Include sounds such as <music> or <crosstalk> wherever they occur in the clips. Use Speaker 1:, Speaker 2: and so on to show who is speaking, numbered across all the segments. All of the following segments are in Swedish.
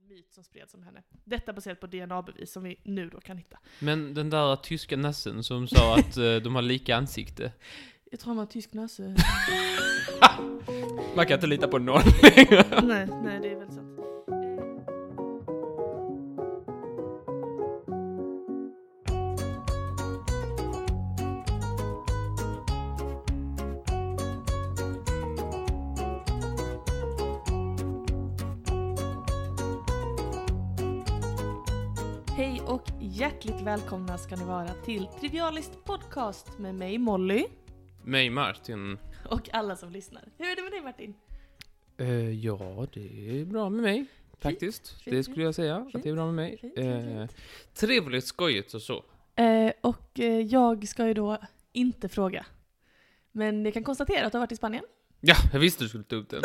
Speaker 1: myt som spreds om henne. Detta baserat på DNA-bevis som vi nu då kan hitta.
Speaker 2: Men den där tyska nassen som sa
Speaker 1: <laughs>
Speaker 2: att eh, de har lika ansikte.
Speaker 1: Jag tror han var tysk nasse.
Speaker 2: Man kan inte lita på någon.
Speaker 1: nej, nej, det är väl sant. Hej och hjärtligt välkomna ska ni vara till Trivialist Podcast med mig Molly
Speaker 2: Mig Martin.
Speaker 1: och alla som lyssnar. Hur är det med dig Martin?
Speaker 2: Eh, ja, det är bra med mig. Faktiskt.
Speaker 1: fint,
Speaker 2: det skulle jag säga. Att det är bra med mig.
Speaker 1: fint, fint,
Speaker 2: Eh, trevligt, skojigt och så.
Speaker 1: Eh, och eh, jag ska ju då inte fråga. Men jag kan konstatera att du har varit i Spanien. <laughs>
Speaker 2: Ja, jag visste du skulle ta upp den.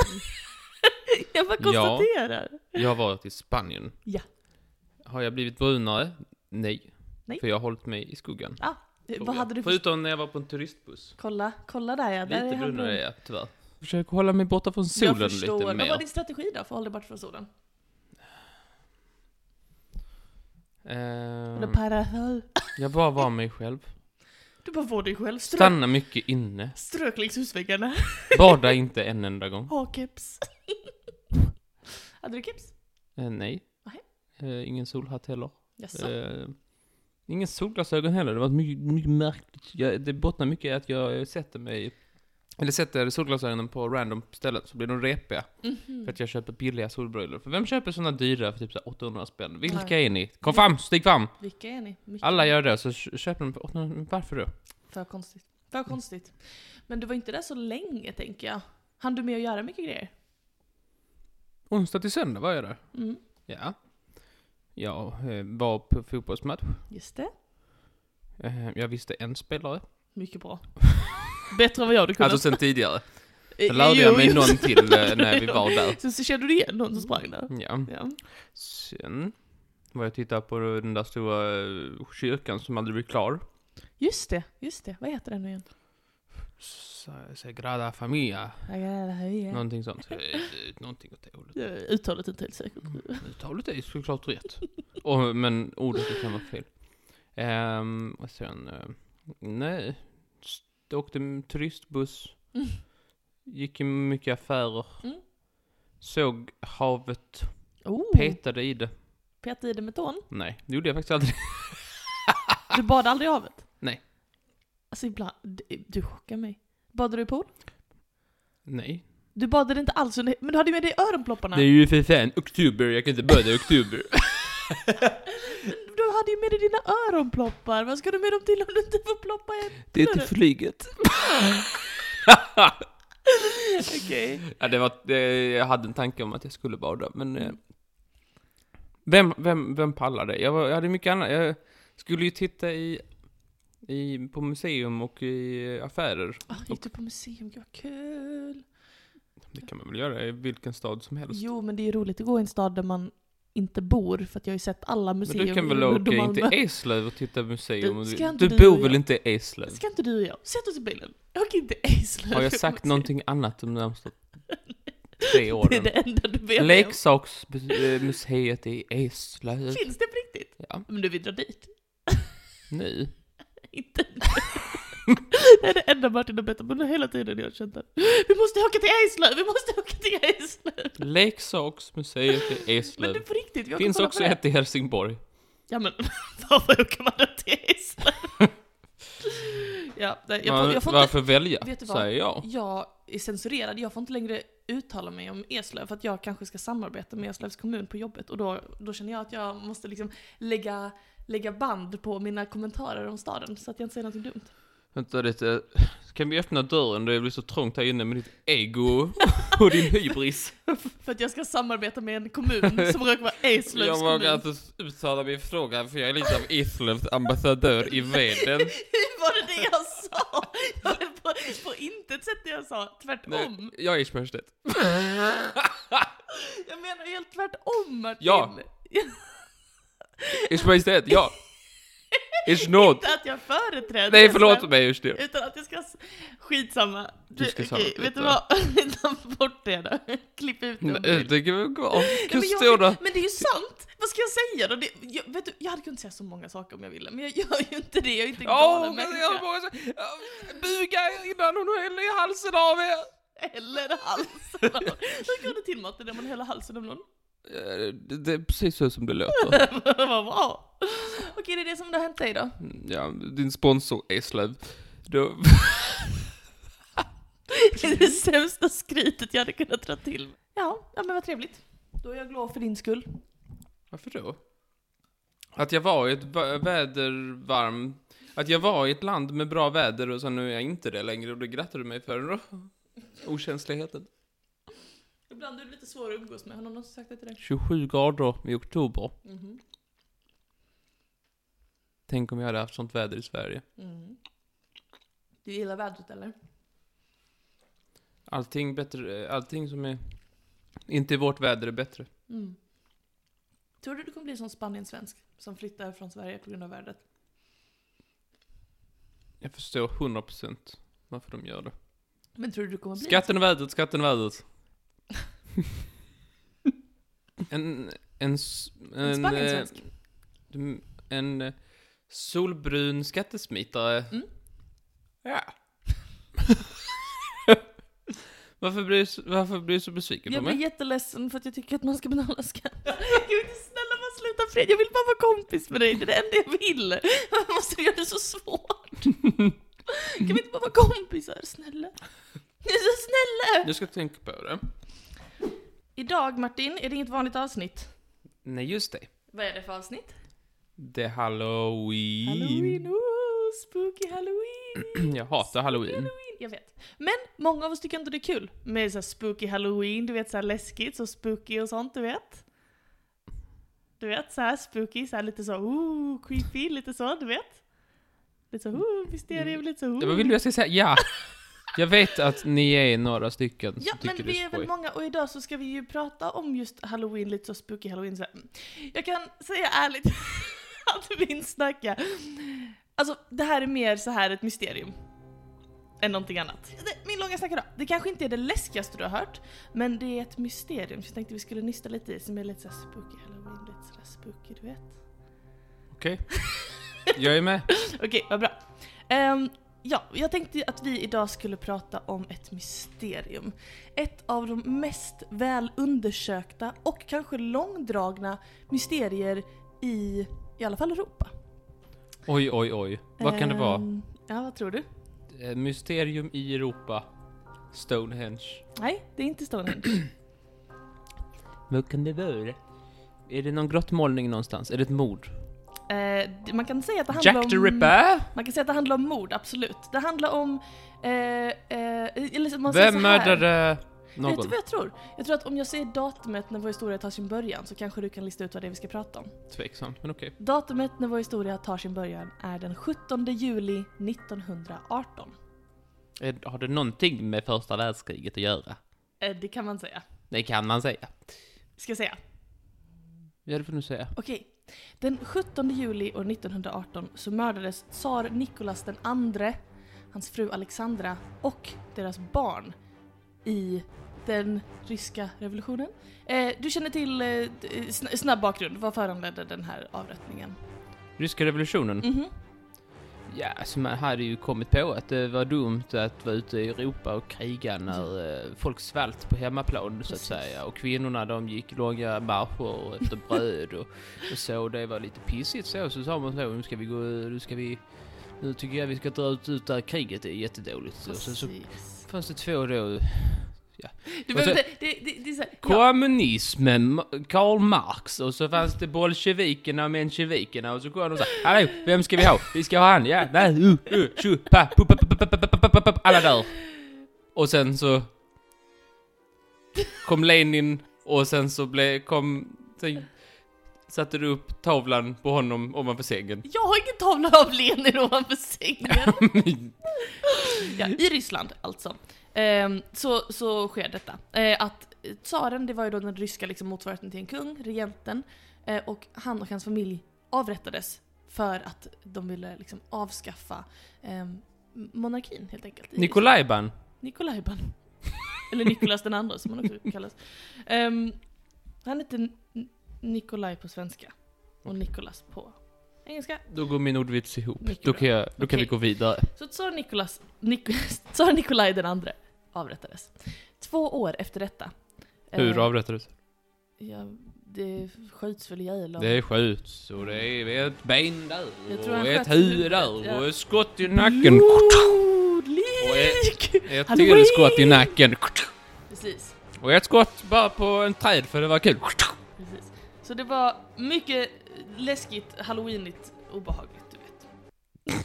Speaker 1: jag bara
Speaker 2: Ja.
Speaker 1: konstaterar.
Speaker 2: <laughs> Jag har varit i Spanien.
Speaker 1: Ja.
Speaker 2: Har jag blivit brunare? Nej.
Speaker 1: Nej.
Speaker 2: För jag har hållit mig i skuggan.
Speaker 1: Eh,
Speaker 2: Tror
Speaker 1: Vad
Speaker 2: jag.
Speaker 1: hade du för...
Speaker 2: Förutom när jag var på en turistbuss.
Speaker 1: Kolla, kolla där ja. Där
Speaker 2: lite
Speaker 1: han
Speaker 2: brunare
Speaker 1: brun.
Speaker 2: är jag, tyvärr. Försöker hålla mig borta från solen
Speaker 1: jag förstår.
Speaker 2: lite
Speaker 1: Vad var
Speaker 2: mer.
Speaker 1: din strategi då för att hålla dig bort från solen?
Speaker 2: Ehm,
Speaker 1: Eller parasol?
Speaker 2: jag bara var mig själv.
Speaker 1: <laughs> Du bara var dig själv. Strök,
Speaker 2: Stanna
Speaker 1: <laughs>
Speaker 2: mycket inne.
Speaker 1: strök längs
Speaker 2: <laughs>
Speaker 1: husväggarna.
Speaker 2: Bada inte en enda gång.
Speaker 1: Ha keps. <laughs> hade du keps?
Speaker 2: Eh, nej.
Speaker 1: Nej.
Speaker 2: Eh, ingen solhatt heller.
Speaker 1: Jaså?
Speaker 2: Eh, ingen solglasögon heller. Det var mycket, mycket märkligt. Jag, det bottnar mycket i att jag sätter mig eller sätter solglasögonen på random ställen så blir de repiga.
Speaker 1: Mhm.
Speaker 2: För att jag köper billiga solbrillor. För vem köper sådana dyra för typ så här 800 spänn? Vilka
Speaker 1: Nej.
Speaker 2: är ni? Kom fram, stig fram!
Speaker 1: Vilka är ni? Mycket.
Speaker 2: Alla gör det, så kö- köper de för 800 men Varför då?
Speaker 1: För konstigt. För konstigt. Men du var inte där så länge tänker jag. Hann du med att göra mycket grejer?
Speaker 2: Onsdag till söndag var jag där.
Speaker 1: Mm.
Speaker 2: Ja. Jag eh, var på fotbollsmatch.
Speaker 1: Just det.
Speaker 2: Eh, jag visste en spelare.
Speaker 1: Mycket bra. Bättre än vad jag hade kunnat.
Speaker 2: Alltså sen tidigare.
Speaker 1: Eh,
Speaker 2: Sen lärde
Speaker 1: jo,
Speaker 2: jag mig
Speaker 1: jo.
Speaker 2: någon till eh, när
Speaker 1: <laughs>
Speaker 2: vi var Mm. där.
Speaker 1: Så, så kände du igen någon som sprang där?
Speaker 2: Ja.
Speaker 1: Ja.
Speaker 2: Sen var jag och tittade på den där stora eh, kyrkan som aldrig blir klar.
Speaker 1: Just det, just det. Vad heter den nu igen?
Speaker 2: Sa- Sagrada Familia, någonting sånt. Eh, Någonting åt det
Speaker 1: <laughs>
Speaker 2: hållet.
Speaker 1: Eh, Uttalet inte helt säkert.
Speaker 2: Uttalet är såklart rätt. Och, men ordet kan vara fel. Ehm, och sen, eh, nej. St- åkte en turistbuss.
Speaker 1: Mm.
Speaker 2: Gick i mycket affärer.
Speaker 1: Mm.
Speaker 2: Såg havet.
Speaker 1: Oh,
Speaker 2: Petade i det.
Speaker 1: peta i det med tån.
Speaker 2: Nej, det gjorde jag faktiskt aldrig.
Speaker 1: Du badade aldrig i havet?
Speaker 2: Ah. Nej.
Speaker 1: Alltså ibland, du- du chockar mig. Badade du i pool?
Speaker 2: Nej.
Speaker 1: Du badade inte alls under, men du hade med dig öronplopparna.
Speaker 2: Det är ju för fan oktober, jag kan inte börja i oktober.
Speaker 1: <laughs>
Speaker 2: <laughs>
Speaker 1: Du hade ju med dig dina öronploppar. Vad ska du med dem till om du inte får ploppa igen?
Speaker 2: Det är till flyget.
Speaker 1: <laughs> Okej.
Speaker 2: Ja, det var, det, jag hade en tanke om att jag skulle bada, men... Eh, vem, vem, vem pallade? Jag, var, jag hade mycket annat. Jag skulle ju titta i, i, på museum och i affärer.
Speaker 1: Ah, gick du på museum? Gud vad kul.
Speaker 2: Det kan man väl göra i vilken stad som helst.
Speaker 1: Jo, men det är ju roligt att gå i en stad där man inte bor, för att jag har ju sett alla
Speaker 2: Men
Speaker 1: museum
Speaker 2: du kan
Speaker 1: i
Speaker 2: väl
Speaker 1: Lund
Speaker 2: åka
Speaker 1: och
Speaker 2: in till
Speaker 1: Malmö.
Speaker 2: Eslöv och titta på museum?
Speaker 1: Du,
Speaker 2: och
Speaker 1: ska
Speaker 2: Du,
Speaker 1: inte
Speaker 2: du
Speaker 1: du och
Speaker 2: bor väl
Speaker 1: jag-
Speaker 2: inte i Eslöv?
Speaker 1: Ska inte du och jag, sätt oss i bilen, åk in till Eslöv. <laughs>
Speaker 2: Har jag sagt någonting annat de närmsta tre åren?
Speaker 1: Det är det enda du vet om.
Speaker 2: Leksaksmuseet i Eslöv.
Speaker 1: Finns det på riktigt?
Speaker 2: Ja,
Speaker 1: Men du vill dra dit?
Speaker 2: nu. <laughs>
Speaker 1: Inte nu. Det är det enda Martin har bett om under hela tiden jag har känt det. Vi måste åka till Eslöv, vi måste åka till Eslöv!
Speaker 2: Leksaksmuseet i
Speaker 1: Men
Speaker 2: Eslöv.
Speaker 1: du på riktigt, vi åker
Speaker 2: Finns
Speaker 1: kolla på
Speaker 2: också
Speaker 1: det.
Speaker 2: ett i Helsingborg.
Speaker 1: Ja men <laughs> varför åker man då till
Speaker 2: <laughs>
Speaker 1: Eslöv? ja, nej, jag, får- jag får inte
Speaker 2: Varför välja?
Speaker 1: Vet du vad?
Speaker 2: säger jag.
Speaker 1: Jag är censurerad, jag får inte längre uttala mig om Eslöv för att jag kanske ska samarbeta med Eslövs kommun på jobbet och då, då känner jag att jag måste liksom lägga, lägga band på mina kommentarer om staden så att jag inte säger någonting dumt.
Speaker 2: Vänta lite. Kan vi öppna dörren? Det blir så trångt här inne med ditt ego <laughs> och din hybris.
Speaker 1: <laughs> För att jag ska samarbeta med en kommun som råkar vara Eslövs
Speaker 2: Jag
Speaker 1: kommun.
Speaker 2: vågar inte uttala min fråga för jag är lite av Eslövs ambassadör
Speaker 1: <laughs>
Speaker 2: i världen.
Speaker 1: Hur var det det jag sa? Jag var på, på intet sätt det jag sa, tvärtom.
Speaker 2: Nej, jag är Schmörstedt.
Speaker 1: Jag menar helt tvärtom Martin.
Speaker 2: Ja. Ish Majestät,
Speaker 1: <laughs>
Speaker 2: ja. Ish Nord.
Speaker 1: Inte att jag företräder
Speaker 2: Nej,
Speaker 1: Eslöv,
Speaker 2: förlåt mig, Ish det.
Speaker 1: Utan att jag ska s- Skitsamma.
Speaker 2: Du ska
Speaker 1: Okej,
Speaker 2: samla upp
Speaker 1: vet
Speaker 2: lite.
Speaker 1: du vad? <laughs> Ta bort det då. Klipp ut
Speaker 2: Nej,
Speaker 1: dem.
Speaker 2: Det kan väl gå.
Speaker 1: Nej, men,
Speaker 2: Kusto då.
Speaker 1: jag, men det är ju sant! Vad ska jag säga då? Det, jag, vet du, jag hade kunnat säga så många saker om jag ville, men jag gör ju inte det. Jag är inte en
Speaker 2: Åh,
Speaker 1: galen
Speaker 2: men
Speaker 1: människa.
Speaker 2: jag vågar säga- Ja, Buga er innan hon häller i halsen av er!
Speaker 1: Eller
Speaker 2: <laughs>
Speaker 1: halsen. av- Hur går det till Martin när man häller halsen om någon?
Speaker 2: Eh, Det, det är precis så som det låter.
Speaker 1: <laughs>
Speaker 2: <laughs>
Speaker 1: Vad bra! Okej, det är det som har hänt dig då.
Speaker 2: Mm, Ja, din sponsor Eslöv. Då,
Speaker 1: Det är det sämsta skrytet jag hade kunnat dra till med. Ja, ja men vad trevligt. Då är jag glad för din skull.
Speaker 2: varför då? Att jag var i ett va- vädervarm... Att jag var i ett land med bra väder och sen nu är jag inte det längre och det grattar du mig för då. Okänsligheten.
Speaker 1: Ibland är det lite svårare att umgås med. Har någon någonsin sagt det till dig?
Speaker 2: 27 grader i oktober.
Speaker 1: Mhm.
Speaker 2: Tänk om jag hade haft sånt väder i Sverige.
Speaker 1: Mm. Du gillar vädret eller?
Speaker 2: Allting bättre, allting som är... Inte i vårt väder är bättre.
Speaker 1: Mm. Tror du du kommer bli som Spanien-svensk som flyttar från Sverige på grund av vädret?
Speaker 2: Jag förstår 100% varför de gör det.
Speaker 1: Men tror du du kommer bli
Speaker 2: Skatten och vädret, skatten och vädret. <laughs> en, en, s-
Speaker 1: en, en
Speaker 2: en, eh,
Speaker 1: Spanien-svensk?
Speaker 2: du- en, eh, solbrun skattesmitare.
Speaker 1: Mm.
Speaker 2: Ja. <laughs> varför blir du, så- varför blir du så besviken
Speaker 1: Jag
Speaker 2: på
Speaker 1: blir
Speaker 2: mig?
Speaker 1: jätteledsen för att jag tycker att man ska betala skatt. <laughs> Gud, snälla bara sluta Fred, jag vill bara vara kompis med dig, det är det enda jag vill. <laughs> Varför måste du göra det så svårt? Kan vi inte bara vara kompisar, snälla? Ni är så snälla!
Speaker 2: Jag ska tänka på det.
Speaker 1: Idag Martin, är det inget vanligt avsnitt?
Speaker 2: Nej, just det.
Speaker 1: Vad är det för avsnitt?
Speaker 2: Det är halloween.
Speaker 1: Halloween, oh, spooky halloween!
Speaker 2: <clears throat> Jag hatar halloween.
Speaker 1: Halloween, Jag vet. Men många av oss tycker inte det är kul med så här spooky halloween, du vet så här läskigt, så spooky och sånt, du vet. Du vet så här spooky, så här lite så ooh, creepy, lite så, du vet. Lite så ooh, mysterium, lite så
Speaker 2: Mm. Ja, Vad vill
Speaker 1: ooh.
Speaker 2: du jag ska säga? Ja! Jag vet att ni är några stycken som
Speaker 1: Ja, men
Speaker 2: tycker det
Speaker 1: vi
Speaker 2: är
Speaker 1: är väl
Speaker 2: skoj.
Speaker 1: många och idag så ska vi ju prata om just halloween, lite så spooky halloween. Så här. Jag kan säga ärligt <laughs> att min snacka, alltså det här är mer så här ett mysterium. än någonting annat. Det- Min långa snack idag. Det kanske inte är det läskigaste du har hört, men det är ett mysterium som jag tänkte vi skulle nysta lite i som är lite såhär spooky halloween, lite sådär spooky du vet.
Speaker 2: Okej. Jag är med.
Speaker 1: Okej, vad bra. Ehm, ja, jag tänkte ju att vi idag skulle prata om ett mysterium. Ett av de mest väl undersökta och kanske långdragna mysterier i, i alla fall Europa.
Speaker 2: Oj, oj, oj. Vad kan det vara?
Speaker 1: Ehm, Ja, vad tror du?
Speaker 2: Eh, Mysterium i Europa. Stonehenge.
Speaker 1: Nej, det är inte Stonehenge.
Speaker 2: <clears throat> Vad kan det vara? Är det någon grottmålning någonstans? Är det ett mord?
Speaker 1: Ehm, det- man kan säga att det handlar
Speaker 2: Jack the
Speaker 1: om...
Speaker 2: Ripper?
Speaker 1: Man kan säga att det handlar om mord, absolut. Det handlar om... Eh, eh, eller så- man säger
Speaker 2: Vem
Speaker 1: så här.
Speaker 2: mördade någon?
Speaker 1: Vet du vad jag tror? Jag tror att om jag säger datumet när vår historia tar sin början så kanske du kan lista ut vad det är vi ska prata om.
Speaker 2: Tveksamt, men okej.
Speaker 1: Datumet när vår historia tar sin början är den 17 juli 1918.
Speaker 2: Är- Har det någonting med första världskriget att göra?
Speaker 1: Eh, det kan man säga.
Speaker 2: Det kan man säga.
Speaker 1: Ska jag säga?
Speaker 2: Ja, det får du säga.
Speaker 1: Okej. Den 17 juli år 1918 så mördades tsar Nikolas den andre, hans fru Alexandra och deras barn i den ryska revolutionen. Eh, du känner till eh, sn- snabb bakgrund, vad föranledde den här avrättningen?
Speaker 2: Ryska revolutionen?
Speaker 1: Mhm.
Speaker 2: Ja, alltså man hade ju kommit på att det var dumt att vara ute i Europa och kriga när eh, folk svalt på hemmaplan så att
Speaker 1: Mm. Precis.
Speaker 2: säga. Och kvinnorna de gick långa marscher
Speaker 1: <laughs>
Speaker 2: efter bröd och, och så. Det var lite pissigt så. Så sa man så, nu ska vi gå, nu ska vi, nu tycker jag vi ska dra ut, ut där kriget är jättedåligt. Så, så, så
Speaker 1: Precis.
Speaker 2: fanns det två då.
Speaker 1: Du
Speaker 2: och
Speaker 1: behöver
Speaker 2: så-
Speaker 1: inte, det, det, det är så här, ja.
Speaker 2: Kommunismen, Ma- Karl Marx och så fanns det bolsjevikerna och mensjevikerna och så kom de så här, hallå, vem ska vi ha? Vi ska ha han, ja, nej, uh, uh, tju, pa, pu, pa, pa, pa, pa, pa, pa, pa, pa, pa, alla dör. Och sen så kom Lenin och sen så blev, kom, sen satte du upp tavlan på honom ovanför sängen.
Speaker 1: Jag har ingen tavla av Lenin ovanför sängen. ja, I Ryssland alltså. Ehm, så, så sker detta. Eh, att tsaren, det var ju då den ryska liksom, motsvarigheten till en kung, regenten. Eh, och han och hans familj avrättades för att de ville liksom, avskaffa ehm, monarkin helt enkelt. i
Speaker 2: Nikolajban.
Speaker 1: Nikolajban. <laughs> Eller Nikolas den andra som han också kallas. Ehm, han heter N- Nikolaj på svenska och Nikolas på engelska.
Speaker 2: Då går min ordvits ihop.
Speaker 1: Mycket
Speaker 2: Då
Speaker 1: bra.
Speaker 2: kan, jag, då kan
Speaker 1: Okej.
Speaker 2: vi gå vidare.
Speaker 1: Så att tsar Nikolas, Nik, <laughs> tsar Nikolaj den andre avrättades. Två år efter detta.
Speaker 2: Hur
Speaker 1: eh,
Speaker 2: avrättades?
Speaker 1: Ja, det sköts väl ihjäl av...
Speaker 2: Det skjuts och det är ett ben där
Speaker 1: Jag tror han
Speaker 2: och ett
Speaker 1: sköts i
Speaker 2: huvud
Speaker 1: huvudet,
Speaker 2: där
Speaker 1: ja.
Speaker 2: och ett skott i nacken. Och
Speaker 1: Blodlik!
Speaker 2: Ett
Speaker 1: Halloween!
Speaker 2: till skott i nacken.
Speaker 1: Precis,
Speaker 2: Och ett skott bara på en träd för det var kul.
Speaker 1: precis. Så det var mycket läskigt, halloweenigt, obehagligt, du
Speaker 2: <laughs>
Speaker 1: vet.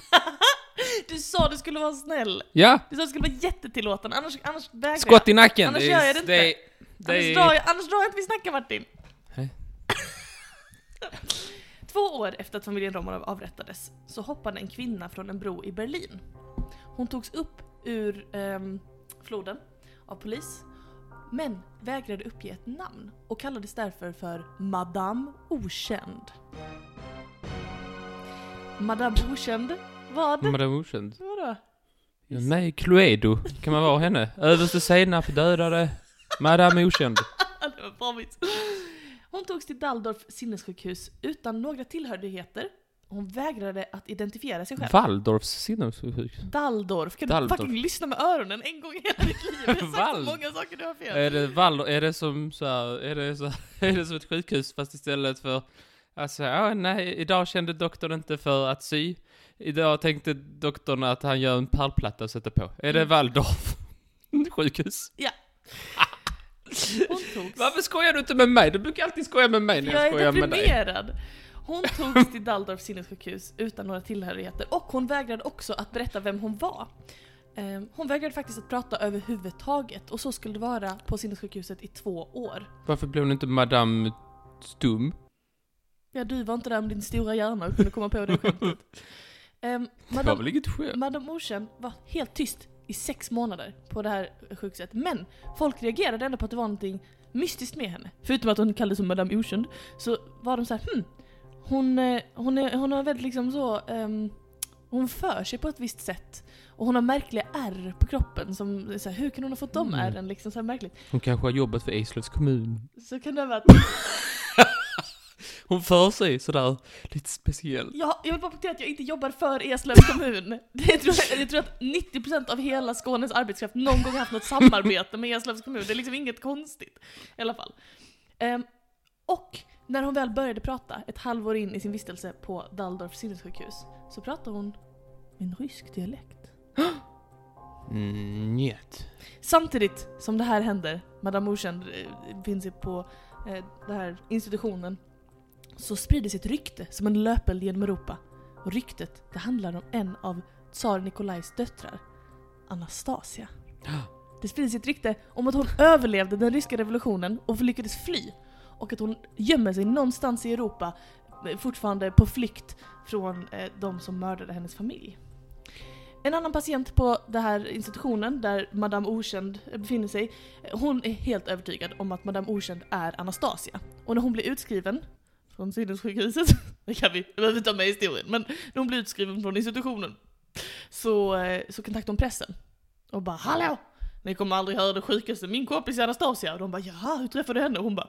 Speaker 1: du sa du skulle vara snäll.
Speaker 2: Ja,
Speaker 1: Du sa du skulle vara jättetillåten, annars, annars vägrar
Speaker 2: skott
Speaker 1: jag.
Speaker 2: i nacken.
Speaker 1: Annars gör jag det inte. Annars,
Speaker 2: Det
Speaker 1: drar
Speaker 2: är...
Speaker 1: jag, annars drar jag inte vi snackar Martin.
Speaker 2: Nej.
Speaker 1: <laughs> Två år efter att familjen Romanov avrättades så hoppade en kvinna från en bro i Berlin. Hon togs upp ur ehm, floden av polis men vägrade uppge ett namn och kallades därför för Madame Okänd. Madame Okänd vad?
Speaker 2: Madame Ocean.
Speaker 1: Vadå?
Speaker 2: Ja, Nej, Cluedo. Kan man vara henne? Överste Senap dödade Madame Okänd.
Speaker 1: <laughs> Ja, det var bra vits. Hon togs till Dalldorf sinnessjukhus utan några tillhörigheter. Hon vägrade att identifiera sig själv.
Speaker 2: Waldorfs sinnessjukhus.
Speaker 1: Dalldorf, kan
Speaker 2: Dalldorf.
Speaker 1: du fucking lyssna med öronen en gång i hela ditt liv? Jag har sagt
Speaker 2: Vald-
Speaker 1: så många saker du har fel.
Speaker 2: Är det Wald... Är det som så här, <laughs> Är det så Är det som ett sjukhus fast istället för... Alltså, ja, nej, idag kände doktorn inte för att sy. Idag tänkte doktorn att han gör en pärlplatta och sätter på. Är det Waldorf <laughs> sjukhus?
Speaker 1: Hon togs.
Speaker 2: Eh, Varför skojar du inte med mig? Du brukar alltid skoja med mig när jag,
Speaker 1: Jag är
Speaker 2: skojar med dig.
Speaker 1: deprimerad. Hon togs till Dalldorf sinnessjukhus utan några tillhörigheter och hon vägrade också att berätta vem hon var. Eh, Hon vägrade faktiskt att prata överhuvudtaget och så skulle det vara på sinnessjukhuset i två år.
Speaker 2: Varför blev hon inte Madame
Speaker 1: <laughs>
Speaker 2: Stum?
Speaker 1: Ja, du var inte där med din stora hjärna och kunde komma på det Ehm, skämtet. Um,
Speaker 2: Det var
Speaker 1: Madame,
Speaker 2: väl inget
Speaker 1: <laughs>
Speaker 2: skämt?
Speaker 1: Madame Ocean var helt tyst i sex månader på det här sjukhuset. Men folk reagerade ändå på att det var någonting mystiskt med henne. Förutom att hon kallades för Madame Ocean så var de så här, hmm, hon, eh, hon, är, hon har väldigt liksom så, ehm, hon för sig på ett visst sätt. Och hon har märkliga ärr på kroppen som, är så här, hur kan hon ha fått de
Speaker 2: Mm.
Speaker 1: ärren? Liksom så här märkligt.
Speaker 2: Hon kanske har jobbat för Eslövs kommun.
Speaker 1: Så kan det ha varit
Speaker 2: Hon för sig sådär lite speciellt.
Speaker 1: Jag, jag vill bara poängtera att jag inte jobbar för Eslövs kommun. <laughs> Det tror jag, jag tror att 90% av hela Skånes arbetskraft någon gång haft något samarbete med Eslövs kommun. Det är liksom inget konstigt. I alla fall. Ehm, och när hon väl började prata, ett halvår in i sin vistelse på Dalldorf sinnessjukhus, så pratade hon med en rysk dialekt.
Speaker 2: Mm, njet.
Speaker 1: Samtidigt som det här händer, Madame Ocean eh, finns ju på eh, den här institutionen, så sprider sig ett rykte som en löpeld genom Europa. Och ryktet, det handlar om en av tsar Nikolajs döttrar, Anastasia. Det sprider sig ett rykte om att hon överlevde den ryska revolutionen och lyckades fly. Och att hon gömmer sig någonstans i Europa, eh, fortfarande på flykt från eh, de som mördade hennes familj. En annan patient på den här institutionen där Madame Okänd eh, befinner sig, eh, hon är helt övertygad om att Madame Okänd är Anastasia. Och när hon blir utskriven från sinnessjukhuset, <laughs> det kan vi, det behöver vi ta med i historien, men när hon blir utskriven från institutionen så, eh, så kontaktar hon pressen och bara Hallå! Ni kommer aldrig höra det sjukaste, min kompis är Anastasia. Och de bara Jaha, hur träffade du henne? Och hon bara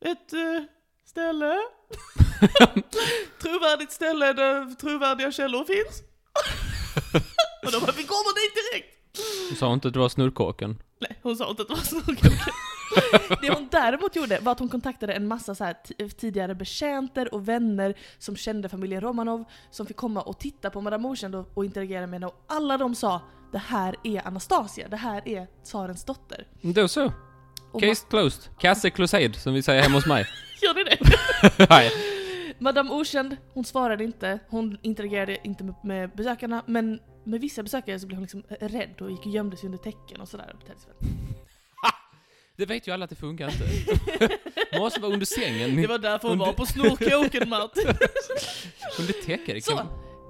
Speaker 1: Ett eh, ställe? Trovärdigt ställe där trovärdiga källor finns? Och de bara, vi kommer dit direkt!
Speaker 2: <gasps> Hon sa inte att det var snurrkåken.
Speaker 1: Nej, hon sa inte att det var snorkråka. Det hon däremot gjorde var att hon kontaktade en massa så här ti- tidigare betjänter och vänner som kände familjen Romanov, som fick komma och titta på Madame Okänd och, och interagera med henne. Och alla de sa, det här är Anastasia, det här är tsarens dotter.
Speaker 2: Då så.
Speaker 1: Och ma-
Speaker 2: Case closed. Kasse closed, som vi säger hemma
Speaker 1: <laughs>
Speaker 2: hos mig.
Speaker 1: Gör ni det?
Speaker 2: Nej.
Speaker 1: Madame Okänd, hon svarade inte, hon interagerade inte med, med besökarna, men med vissa besökare så blev hon liksom eh, rädd och gick och gömde sig under täcken och sådär. och betedde sig väldigt-
Speaker 2: Det vet ju alla att det
Speaker 1: <laughs>
Speaker 2: funkar inte. Måste vara under sängen.
Speaker 1: Det var därför hon var på snorkråken Martin.
Speaker 2: Under täcket. liksom.
Speaker 1: Så,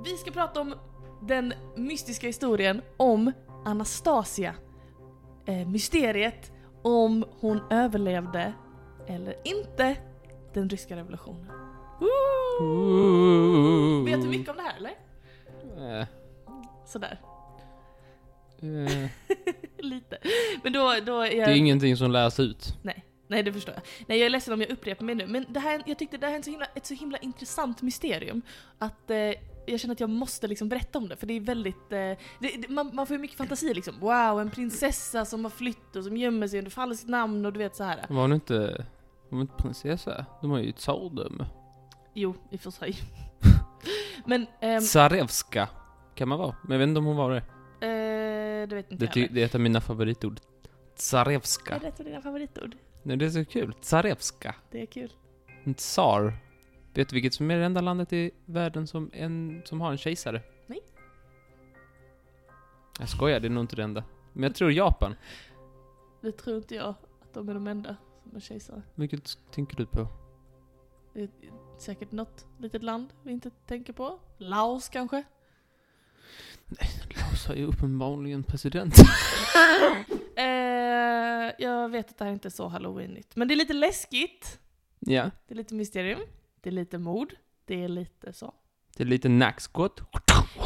Speaker 1: vi ska prata om den mystiska historien om Anastasia. Eh, mysteriet om hon överlevde eller inte den ryska revolutionen. Woo! Vet du mycket om det här eller? Sådär.
Speaker 2: Eh,
Speaker 1: Lite. Men då, då är
Speaker 2: det
Speaker 1: jag...
Speaker 2: är ingenting som lärs ut.
Speaker 1: Nej, det förstår jag. Nej, jag är ledsen om jag upprepar mig nu, men det här, jag tyckte det här är en så himla, ett så himla intressant mysterium. Att eh, jag känner att jag måste liksom berätta om det, för det är väldigt... Eh, det, det, man, man får ju mycket fantasi liksom. Wow, en prinsessa som har flytt och som gömmer sig under falskt namn och du vet så här.
Speaker 2: Var hon inte, var hon inte prinsessa? De har ju ett tsardöme.
Speaker 1: Jo, i och för sig. <laughs> men... ehm,
Speaker 2: Tsarevska kan man vara, men jag vet inte om hon var det.
Speaker 1: eh, det vet inte
Speaker 2: Det, ty-
Speaker 1: jag.
Speaker 2: det är ett av mina favoritord.
Speaker 1: Är
Speaker 2: Tsarevska.
Speaker 1: det ett av dina favoritord?
Speaker 2: Nej, det är så kul. Tsarevska.
Speaker 1: Det är kul.
Speaker 2: En tsar. Vet du vilket som är det enda landet i världen som, en, som har en kejsare?
Speaker 1: Nej.
Speaker 2: Jag skojar, det är nog inte det enda. Men jag tror Japan.
Speaker 1: Det tror inte jag att de är de enda som är kejsare.
Speaker 2: Vilket tänker du på?
Speaker 1: Det är säkert något litet land vi inte tänker på. Laos kanske?
Speaker 2: Laos har ju uppenbarligen president.
Speaker 1: <laughs> Eh, jag vet att det här inte är så halloweenigt. Men det är lite läskigt.
Speaker 2: ja.
Speaker 1: Det är lite mysterium. Det är lite mord. Det är lite så.
Speaker 2: Det är lite nackskott.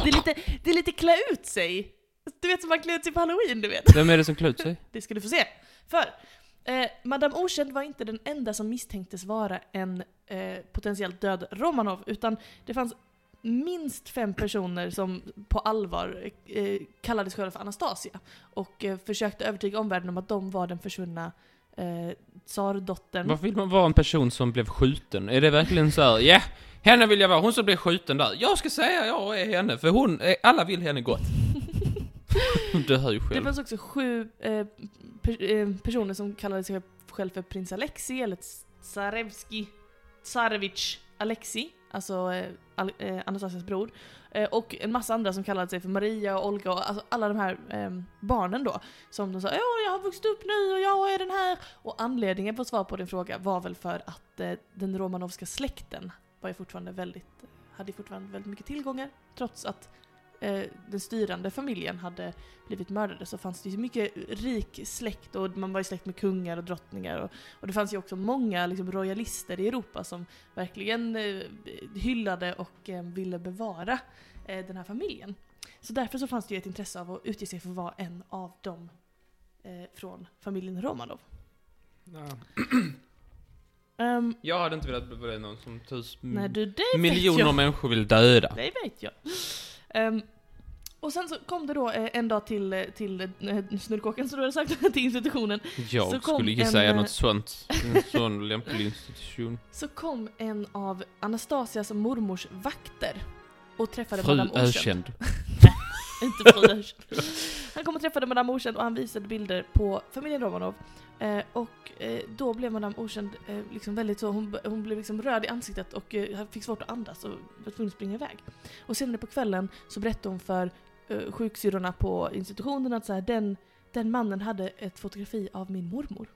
Speaker 1: Det är lite, det är lite klä ut sig. Du vet som man klär ut sig på halloween, du vet.
Speaker 2: Vem är det som klär ut sig?
Speaker 1: Det ska du få se. För eh, Madame Okänd var inte den enda som misstänktes vara en eh, potentiellt död Romanov, utan det fanns minst fem personer som på allvar eh, kallades själva för Anastasia och eh, försökte övertyga omvärlden om att de var den försvunna eh, tsardottern.
Speaker 2: Varför vill man vara en person som blev skjuten? Är det verkligen så här, ja, henne vill jag vara, hon som blev skjuten där. Jag ska säga jag är henne, för hon, är, alla vill
Speaker 1: <laughs>
Speaker 2: henne gott. du hör ju
Speaker 1: Det
Speaker 2: själv.
Speaker 1: fanns också sju eh, per, eh, personer som kallade sig själv för prins Alexei eller Tsarevski, Tsarevich Alexei, alltså eh, Al- eh, Anastasias bror. Eh, och en massa andra som kallade sig för Maria och Olga och alltså alla de här eh, barnen då. Som de sa ja jag har vuxit upp nu och jag är den här. Och anledningen för att svara på din fråga var väl för att eh, den romanovska släkten var ju fortfarande väldigt, hade ju fortfarande väldigt mycket tillgångar trots att eh, den styrande familjen hade blivit mördade så fanns det ju mycket rik släkt och man var ju släkt med kungar och drottningar och, och det fanns ju också många liksom, royalister i Europa som verkligen eh, hyllade och eh, ville bevara eh, den här familjen. Så därför så fanns det ju ett intresse av att utge sig för att vara en av dem eh, från familjen Romanov. Ehm,
Speaker 2: Jag hade inte velat bli någon som tusen
Speaker 1: nej du, det vet
Speaker 2: Mm. miljoner
Speaker 1: jag.
Speaker 2: människor vill döda.
Speaker 1: Det vet jag. Ehm, och sen så kom det då eh, en dag till, eh, till eh, snurrkåken, som du hade sagt, <laughs> till institutionen.
Speaker 2: Jag
Speaker 1: Så kom
Speaker 2: skulle inte
Speaker 1: en,
Speaker 2: säga
Speaker 1: eh, <laughs>
Speaker 2: något sånt. En sån lämplig institution.
Speaker 1: Så kom en av Anastasias mormors vakter och träffade
Speaker 2: Fru
Speaker 1: Madame Okänd.
Speaker 2: ökänd.
Speaker 1: <laughs> Inte fru Ökänd. Han kom och träffade Madame Okänd och han visade bilder på familjen Romanov. Eh, och eh, då blev Madame Okänd eh, liksom väldigt så, hon, hon blev liksom röd i ansiktet och eh, fick svårt att andas och var tvungen att springa iväg. Och senare på kvällen så berättade hon för eh, sjuksyrrorna på institutionen att så här, den, den mannen hade ett fotografi av min mormor.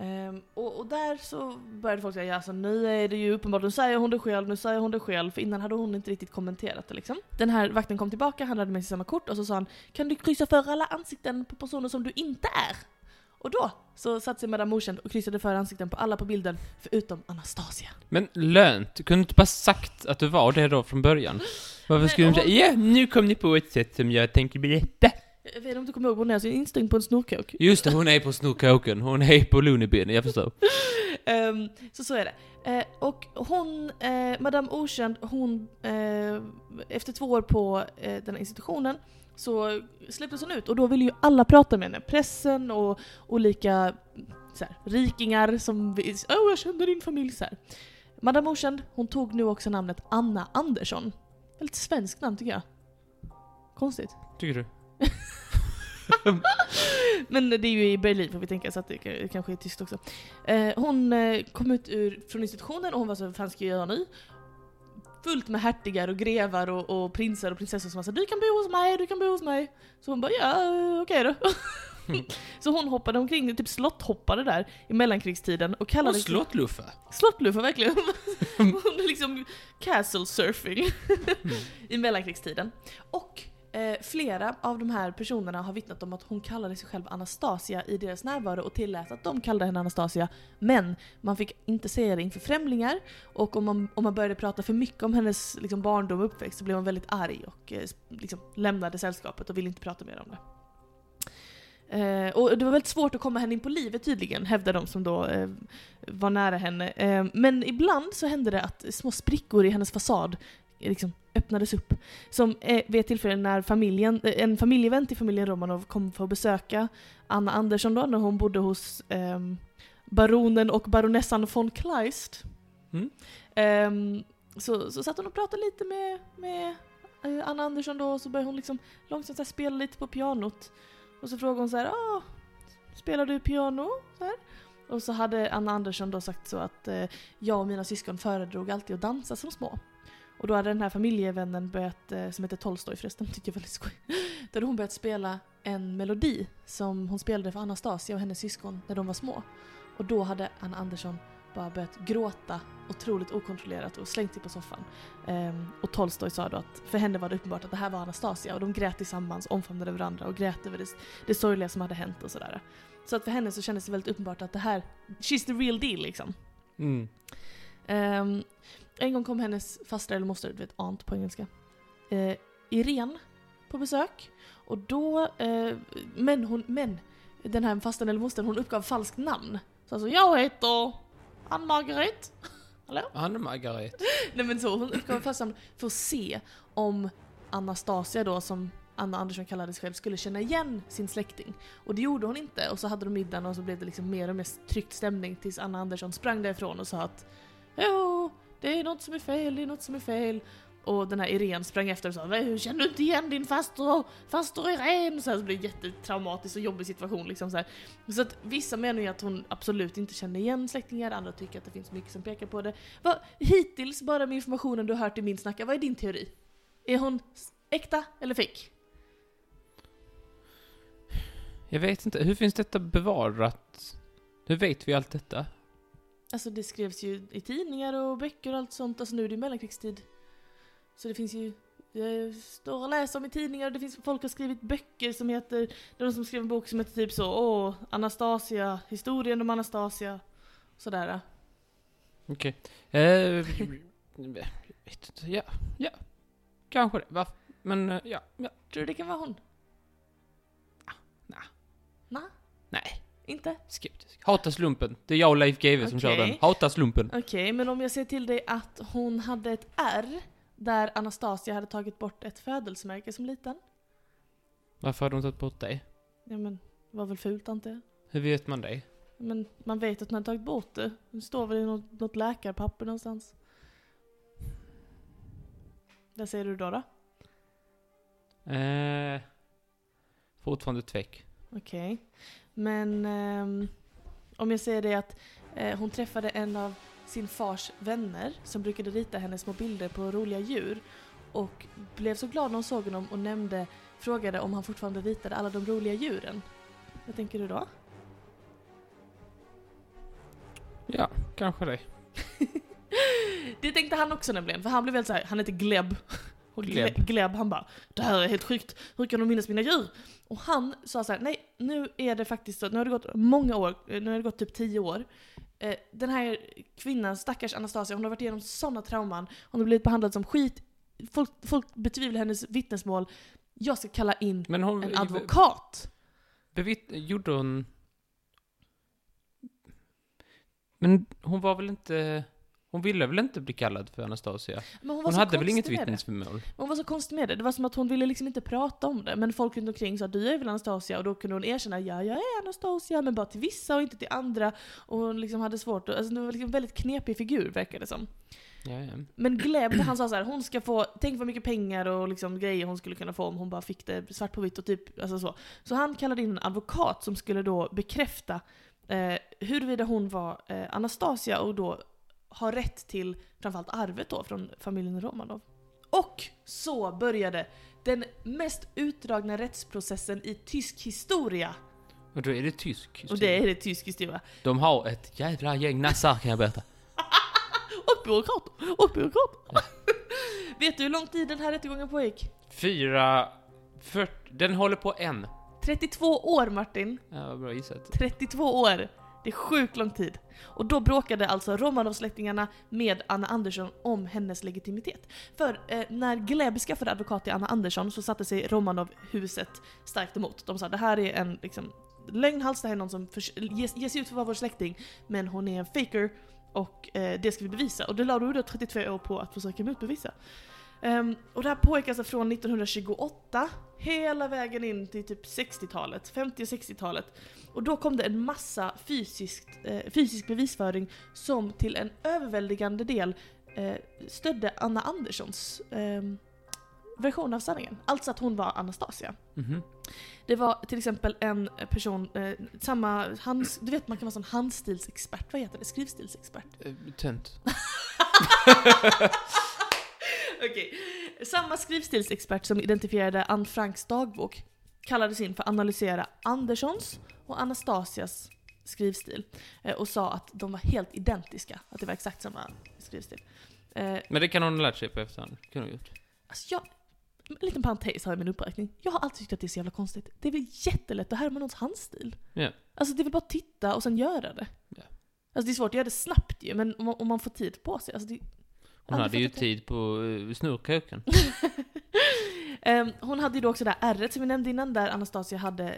Speaker 1: Ehm, och, och där så började folk säga ja, alltså, nu är det ju uppenbart, nu säger hon det själv, nu säger hon det själv. För innan hade hon inte riktigt kommenterat det liksom. Den här vakten kom tillbaka, han hade med sig samma kort och så sa han kan du kryssa för alla ansikten på personer som du inte är? Och då så satte sig Madame Okänd och kryssade för ansikten på alla på bilden förutom Anastasia.
Speaker 2: Men lönt, du kunde inte bara sagt att du var det då från början? Varför
Speaker 1: Men
Speaker 2: skulle du säga
Speaker 1: om-
Speaker 2: ja, nu kom ni på ett sätt som jag tänker berätta.
Speaker 1: Jag vet inte om du kommer ihåg, hon är alltså instängd på en snorkåk.
Speaker 2: Just det, hon är på snorkåken, hon är på Lunebyn, jag förstår.
Speaker 1: Ehm, så så är det. Eh, och hon, eh, Madame Okänd, hon, eh, efter två år på eh, den här institutionen så släpptes hon ut och då ville ju alla prata med henne. Pressen och olika så här, rikingar som vi- Åh, jag kände din familj” så här. Madame Okänd, hon tog nu också namnet Anna Andersson. Väldigt svenskt namn tycker jag. Konstigt.
Speaker 2: Tycker du?
Speaker 1: Men det är ju i Berlin får vi tänka, så att det k- kanske är tyst också. Eh, hon eh, kom ut ur, från institutionen och hon var så vad fan ska jag göra nu? Fullt med hertigar och grevar och, och prinsar och prinsessor som sa du kan bo hos mig, du kan bo hos mig. Så hon bara ja, eh, okej då. så hon hoppade omkring, typ slotthoppade där i mellankrigstiden och
Speaker 2: Och
Speaker 1: kallades...
Speaker 2: slottluffa.
Speaker 1: Slottluffar verkligen. <laughs> Hon är liksom castle surfing i mellankrigstiden. Och eh, Eh, flera av de här personerna har vittnat om att hon kallade sig själv Anastasia i deras närvaro och tillät att de kallade henne Anastasia. Men man fick inte säga det inför främlingar och om man, om man började prata för mycket om hennes liksom, barndom och uppväxt så blev hon väldigt arg och eh, liksom, lämnade sällskapet och ville inte prata mer om det. Eh, och det var väldigt svårt att komma henne in på livet tydligen, hävdar de som då eh, var nära henne. Eh, men ibland så hände det att små sprickor i hennes fasad eh, liksom öppnades upp. Som eh, vid ett tillfälle när familjen, eh, en familjevän till familjen Romanov kom för att besöka Anna Andersson då, när hon bodde hos ehm, baronen och baronessan von Kleist.
Speaker 2: Mm.
Speaker 1: Ehm, så, så satt hon och pratade lite med, med eh, Anna Andersson då och så började hon liksom långsamt så här spela lite på pianot. Och så frågade hon så här, ah, spelar du piano? Så här. Och så hade Anna Andersson då sagt så att eh, jag och mina syskon föredrog alltid att dansa som små. Och då hade den här familjevännen börjat, eh, som heter Tolstoj förresten, <laughs> tycker jag är väldigt skoj. Då hade hon börjat spela en melodi som hon spelade för Anastasia och hennes syskon när de var små. Och då hade Anna Andersson bara börjat gråta otroligt okontrollerat och slängt sig på soffan. Ehm, och Tolstoj sa då att för henne var det uppenbart att det här var Anastasia och de grät tillsammans, omfamnade varandra och grät över det, det sorgliga som hade hänt och sådär. Så att för henne så kändes det väldigt uppenbart att det här, she's the real deal liksom.
Speaker 2: Mm.
Speaker 1: Ehm, en gång kom hennes faster eller moster, du vet aunt på engelska, uh, Irene på besök. Och då, eh, men, hon, men den här fasten eller mostern hon uppgav falskt namn. Så alltså, jag heter Ann-Margaret.
Speaker 2: Anna Margaret.
Speaker 1: Nej men så, hon uppgav falskt namn för att se om Anastasia då, som Anna Andersson kallade sig själv, skulle känna igen sin släkting. Och det gjorde hon inte. Och så hade de middagen och så blev det liksom mer och mer tryckt stämning tills Anna Andersson sprang därifrån och sa att Jo, det är något som är fel, det är något som är fel. Och den här Irene sprang efter och sa "Vad, hur känner du inte igen din faster, faster Irene? Så, här, så blev det en jättetraumatisk och jobbig situation liksom så här. Så att vissa menar ju att hon absolut inte känner igen släktingar, andra tycker att det finns mycket som pekar på det. Vad, hittills, bara med informationen du har hört i min snacka, vad är din teori? Är hon s- äkta eller fake?
Speaker 2: Jag vet inte, hur finns detta bevarat? Hur vet vi allt detta?
Speaker 1: Alltså det skrevs ju i tidningar och böcker och allt sånt, alltså nu är det ju mellankrigstid. Så det finns ju, jag står och läser om i tidningar och det finns folk har skrivit böcker som heter, det är de som skrev en bok som heter typ så, åh, Anastasia, historien om Anastasia. Sådär.
Speaker 2: Okej. Eh, jag vet inte, ja, ja. Kanske det, varför? Men, eh, ja, ja.
Speaker 1: Tror du det kan vara hon? Ah,
Speaker 2: nja.
Speaker 1: Nja?
Speaker 2: Nej.
Speaker 1: Inte?
Speaker 2: Skeptisk. Hatar slumpen. Det är jag och Leif GW som
Speaker 1: Okej.
Speaker 2: kör den. Hatar slumpen.
Speaker 1: Okej, men om jag säger till dig att hon hade ett R där Anastasia hade tagit bort ett födelsemärke som liten.
Speaker 2: Varför har de tagit bort det?
Speaker 1: Ja men, det var väl fult antar jag.
Speaker 2: Hur vet man det?
Speaker 1: Men man vet att hon hade tagit bort det. Det står väl i något, något läkarpapper någonstans. Vad säger du då? då?
Speaker 2: Eh, fortfarande tvek.
Speaker 1: Okej. Men ehm, om jag säger det att eh, hon träffade en av sin fars vänner som brukade rita hennes små bilder på roliga djur och blev så glad när hon såg honom och nämnde, frågade om han fortfarande ritade alla de roliga djuren. Vad tänker du då?
Speaker 2: Ja, kanske det.
Speaker 1: Det tänkte han också nämligen, för han blev helt såhär, han heter Gleb. <laughs> Och Gleb.
Speaker 2: Gleb.
Speaker 1: Gleb, han bara Det här är helt sjukt, hur kan de minnas mina djur? Och han sa så här: nej nu är det faktiskt så, nu har det gått många år, eh, nu har det gått typ tio år. Eh, Den här kvinnan, stackars Anastasia, hon har varit igenom sådana trauman. Hon har blivit behandlad som skit. Folk, folk betvivlar hennes vittnesmål. Jag ska kalla in
Speaker 2: Men hon...
Speaker 1: en advokat.
Speaker 2: Bevitt... Gjorde hon... Men hon var väl inte... Hon ville väl inte bli kallad för Anastasia?
Speaker 1: Men hon var
Speaker 2: Hon
Speaker 1: så
Speaker 2: hade väl
Speaker 1: konstig
Speaker 2: inget
Speaker 1: med det.
Speaker 2: vittnesförmål?
Speaker 1: Men Hon var så konstig med det, det var som att hon ville liksom inte prata om det. Men folk runt omkring sa du är väl Anastasia? Och då kunde hon erkänna ja, jag är Anastasia, men bara till vissa och inte till andra. Och hon liksom hade svårt att, alltså det var liksom en väldigt knepig figur verkar det som.
Speaker 2: Ja, ja.
Speaker 1: Men Gleb, han sa så här, hon ska få, tänk vad mycket pengar och liksom grejer hon skulle kunna få om hon bara fick det svart på vitt och typ, alltså så. Så han kallade in en advokat som skulle då bekräfta eh, huruvida hon var eh, Anastasia och då har rätt till framförallt arvet då från familjen Romanov. Och så började den mest utdragna rättsprocessen i tysk historia.
Speaker 2: Och då är det tysk.
Speaker 1: Och det är det tysk historia.
Speaker 2: De har ett jävla gäng nassar kan jag berätta.
Speaker 1: Och byråkrater! Och byråkrater! Vet du hur lång tid den här rättegången pågick?
Speaker 2: Fyra För, den håller på än.
Speaker 1: 32 år Martin!
Speaker 2: Ja, vad bra gissat.
Speaker 1: 32 år! Det är sjukt lång tid. Och då bråkade alltså Romanov-släktingarna med Anna Andersson om hennes legitimitet. För eh, när Gleb skaffade advokat till Anna Andersson så satte sig Romanov-huset starkt emot. De sa det här är en liksom, lögnhals, det här är någon som förs- ges, ges ut för att vara vår släkting, men hon är en faker och eh, det ska vi bevisa. Och det la du då 32 år på att försöka motbevisa. Ehm, och det här pågick alltså från 1928 hela vägen in till typ 60-talet, 50 och 60-talet. Och då kom det en massa fysiskt, eh, fysisk bevisföring som till en överväldigande del eh, stödde Anna Anderssons ehm, version av sanningen. Alltså att hon var Anastasia.
Speaker 2: Mhm.
Speaker 1: Det var till exempel en person, eh, samma hands, du vet man kan vara sån handstilsexpert, vad heter det? Skrivstilsexpert.
Speaker 2: Eh, Tönt.
Speaker 1: Okej. Samma skrivstilsexpert som identifierade Anne Franks dagbok kallades in för att analysera Anderssons och Anastasias skrivstil eh, och sa att de var helt identiska, att det var exakt samma skrivstil. Eh,
Speaker 2: Men det kan hon ha lärt sig på efterhand. Kan hon ha gjort.
Speaker 1: Alltså jag, en liten parentes här i min uppräkning. Jag har alltid tyckt att det är så jävla konstigt. Det är väl jättelätt att härma någons handstil?
Speaker 2: Ja.
Speaker 1: Alltså det är väl bara att titta och sen göra det?
Speaker 2: Ja.
Speaker 1: Alltså det är svårt att göra det snabbt ju, men om man, om man får tid på sig. Alltså det,
Speaker 2: Hon
Speaker 1: Aldrig
Speaker 2: hade ju
Speaker 1: fattat det.
Speaker 2: tid på eh, snorköken.
Speaker 1: <laughs> Ehm, hon hade ju då också det här ärret som vi nämnde innan där Anastasia hade,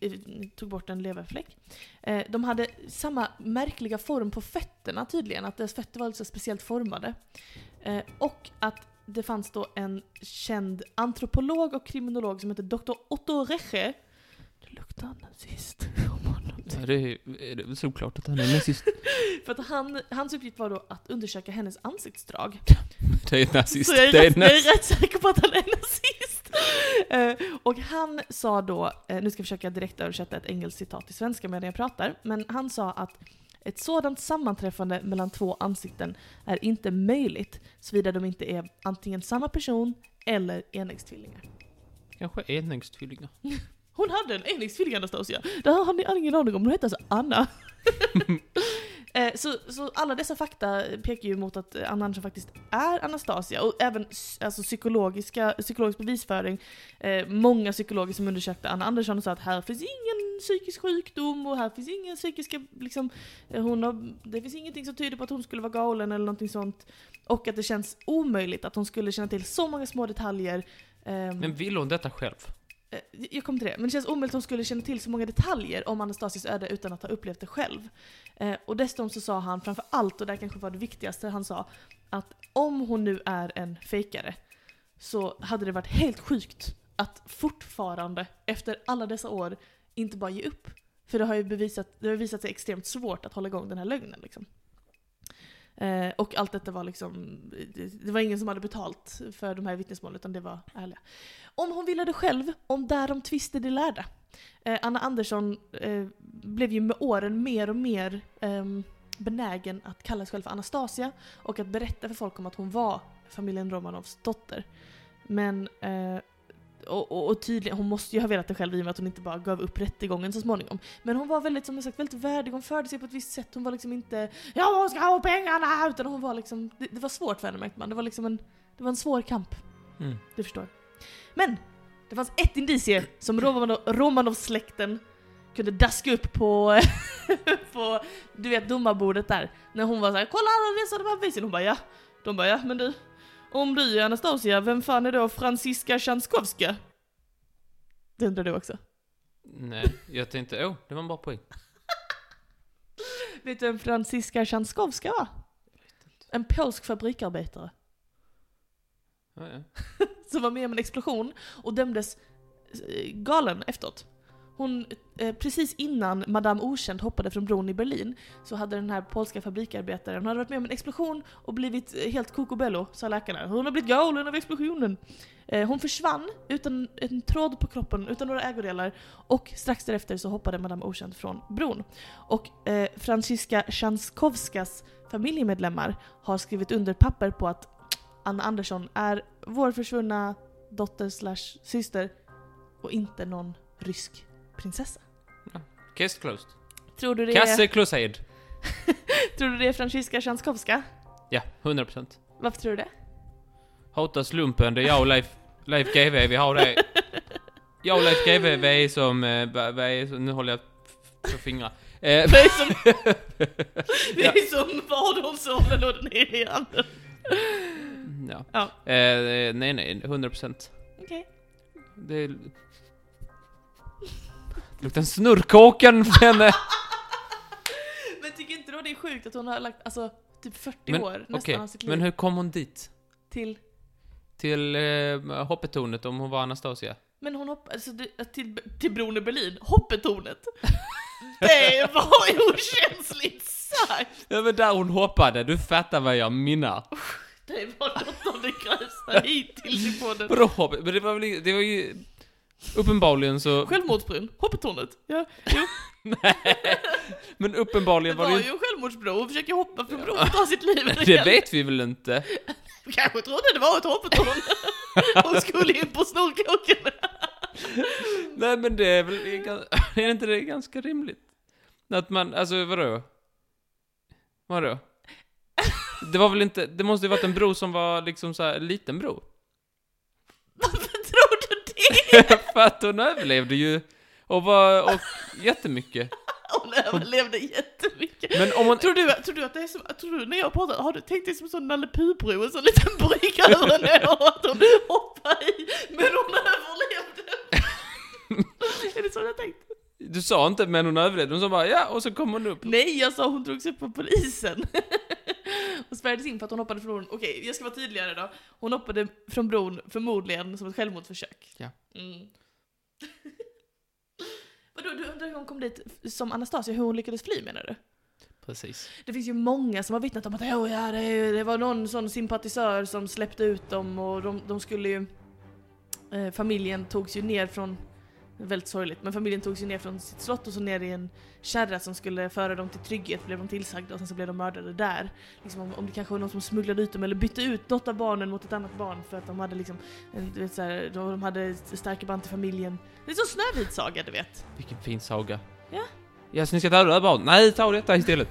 Speaker 1: eh, tog bort en leverfläck. Eh, de hade samma märkliga form på fötterna tydligen, att deras fötter var lite så speciellt formade. Eh, och att det fanns då en känd antropolog och kriminolog som hette Dr. Otto Reche. Det luktar nazist om honom.
Speaker 2: <laughs> Ja, det är är det såklart att han är nazist.
Speaker 1: <laughs> För att han, hans uppgift var då att undersöka hennes ansiktsdrag.
Speaker 2: <laughs> Det är nazist.
Speaker 1: Så jag är,
Speaker 2: Det
Speaker 1: rätt,
Speaker 2: är
Speaker 1: jag är
Speaker 2: nazist.
Speaker 1: rätt säker på att han är nazist. Eh, och han sa då, eh, nu ska jag försöka direkt översätta ett engelskt citat till svenska medan jag pratar, men han sa att ett sådant sammanträffande mellan två ansikten är inte möjligt såvida de inte är antingen samma person eller enäggstvillingar.
Speaker 2: Kanske enäggstvillingar.
Speaker 1: Hon hade en enäggstvilling Anastasia. Det här har ni ingen aning om, hon hette alltså Anna. Eh, så, så alla dessa fakta pekar ju mot att eh, Anna Andersson faktiskt är Anastasia. Och även s- alltså, psykologiska, psykologisk bevisföring. Eh, många psykologer som undersökte Anna Andersson sa att här finns ingen psykisk sjukdom och här finns ingen psykiska, liksom, eh, hon har, det finns ingenting som tyder på att hon skulle vara galen eller någonting sånt. Och att det känns omöjligt att hon skulle känna till så många små detaljer. ehm,
Speaker 2: Men vill hon detta själv?
Speaker 1: Eh, Jag kommer till det. Men det känns omöjligt att hon skulle känna till så många detaljer om Anastasias öde utan att ha upplevt det själv. Eh, och dessutom så sa han framför allt, och det här kanske var det viktigaste han sa, att om hon nu är en fejkare så hade det varit helt sjukt att fortfarande, efter alla dessa år, inte bara ge upp. För det har ju bevisat, det har visat sig extremt svårt att hålla igång den här lögnen. Liksom. Eh, och allt detta var liksom, det, det var ingen som hade betalt för de här vittnesmålen utan det var ärliga. Om hon ville det själv, om därom tvister de lärda. Eh, Anna Andersson eh, blev ju med åren mer och mer ehm, benägen att kalla sig själv för Anastasia och att berätta för folk om att hon var familjen Romanovs dotter. Men eh, och, och, och tydligen, hon måste ju ha velat det själv i och med att hon inte bara gav upp rättegången så småningom. Men hon var väldigt, som jag sagt, väldigt värdig, hon förde sig på ett visst sätt. Hon var liksom inte Ja hon ska ha pengarna! Utan hon var liksom, det, det var svårt för henne märkte man. Det var liksom en, det var en svår kamp.
Speaker 2: Mm.
Speaker 1: Du förstår. Men! Det fanns ett indicium som Romanov, Romanov-släkten kunde daska upp på, <laughs> på du vet domarbordet där. När hon var såhär 'Kolla alla dessa de här bevisen' Hon bara ja. De bara ja, men du. Om du är Anastasia, vem fan är då Franziska Tjanskovska? Det undrar du också.
Speaker 2: Nej, jag tänkte, åh, det var en bra poäng.
Speaker 1: Vet du vem Franziska Tjanskovska var? En polsk fabrikarbetare.
Speaker 2: Ja, ja.
Speaker 1: som var med om en explosion och dömdes eh, galen efteråt. Hon, eh, precis innan Madame Okänd hoppade från bron i Berlin så hade den här polska fabrikarbetaren, hon hade varit med om en explosion och blivit eh, helt kokobello, sa läkarna. Hon har blivit galen av explosionen. Eh, hon försvann utan en tråd på kroppen, utan några ägodelar och strax därefter så hoppade Madame Okänd från bron. Och eh, Franciska Tjanskovskas familjemedlemmar har skrivit under papper på att Anna Andersson är vår försvunna dotter slash syster och inte någon rysk prinsessa.
Speaker 2: Case closed.
Speaker 1: Tror du det är,
Speaker 2: Kasse Closed.
Speaker 1: tror du det är Franciska Tjanskovska?
Speaker 2: Ja, 100%.
Speaker 1: Varför tror du det?
Speaker 2: Hata slumpen, det är jag och Leif, Leif GW, vi har det. Jag och Leif GW, vi är som, eh, va- vad är som, nu håller jag på fingrar. Eh,
Speaker 1: <laughs> <laughs> Det är
Speaker 2: <laughs>
Speaker 1: som, det
Speaker 2: Ja.
Speaker 1: är som Vadholmsålen och den heliga anden.
Speaker 2: ja.
Speaker 1: Ja.
Speaker 2: Eh, nej, nej, 100 procent.
Speaker 1: Okej.
Speaker 2: Det... det luktar en snurrkåken för henne.
Speaker 1: Men tycker inte då det är sjukt att hon har lagt, alltså, typ 40
Speaker 2: Men,
Speaker 1: år nästan
Speaker 2: Okej,
Speaker 1: av sitt liv
Speaker 2: men hur kom hon dit?
Speaker 1: till...
Speaker 2: Till eh, hoppetornet om hon var Anastasia?
Speaker 1: Men hon hoppade, alltså, det- till, till bron i Berlin, hoppetornet. det var ju okänsligt sagt!
Speaker 2: Ja men där hon hoppade, du fattar vad jag menar.
Speaker 1: Det var något av det grövsta hittills i podden.
Speaker 2: Vadå hoppet? Men det var väl i- det var ju... Uppenbarligen så...
Speaker 1: Självmordsbron, hoppetornet. Ja, jo,
Speaker 2: Men
Speaker 1: det
Speaker 2: uppenbarligen var
Speaker 1: var
Speaker 2: det
Speaker 1: ju
Speaker 2: ju...
Speaker 1: en självmordsbro och försöker hoppa från bron för att ta sitt liv. men
Speaker 2: <laughs> Det
Speaker 1: hjälpte
Speaker 2: vet vi väl inte?
Speaker 1: Kanske trodde det var ett
Speaker 2: <laughs>
Speaker 1: hoppetorn. Hon skulle in på Snorkåken.
Speaker 2: Nej men det är väl... det är gan- <laughs> Är inte det ganska rimligt? Att man, alltså vadå? Vadå? Det var väl inte, det måste ju varit en bro som var liksom så här, liten bro. <laughs>
Speaker 1: Varför tror du det?
Speaker 2: För att hon överlevde ju och var, och jättemycket.
Speaker 1: Hon överlevde jättemycket.
Speaker 2: Men om hon,
Speaker 1: Tror du, tror du att det är som, tror du när jag pratar, har du tänkt dig som en sån Nalle Puh-bro, en sån liten brygga över en å att hon hoppar i, men hon
Speaker 2: <laughs>
Speaker 1: överlevde? är det så du har tänkt?
Speaker 2: du sa inte men hon överlevde, hon sa bara ja och så kom hon upp.
Speaker 1: Nej, jag sa hon drogs upp av polisen. <laughs> och spärrades in för att hon hoppade från bron. Okej, jag ska vara tydligare då. Hon hoppade från bron förmodligen som ett självmordsförsök.
Speaker 2: Ja.
Speaker 1: Mm. <laughs> Vadå, du undrar hur hon kom dit som Anastasia, hur hon lyckades fly menar du?
Speaker 2: Precis.
Speaker 1: Det finns ju många som har vittnat om att "Åh, ja, det, är ju- det var någon sån sympatisör som släppte ut dem och de, de skulle ju... Eh, familjen togs ju ner från... Väldigt sorgligt, men familjen togs ju ner från sitt slott och så ner i en kärra som skulle föra dem till trygghet blev de tillsagda och sen så blev de mördade där. Liksom om, om det kanske var någon som smugglade ut dem eller bytte ut något av barnen mot ett annat barn för att de hade liksom, en, du vet så här, de, de hade starka band till familjen. Det är som Snövit saga du vet.
Speaker 2: Vilken fin saga.
Speaker 1: Ja.
Speaker 2: Ja, så ni ska ta det här bara? Nej, ta detta istället.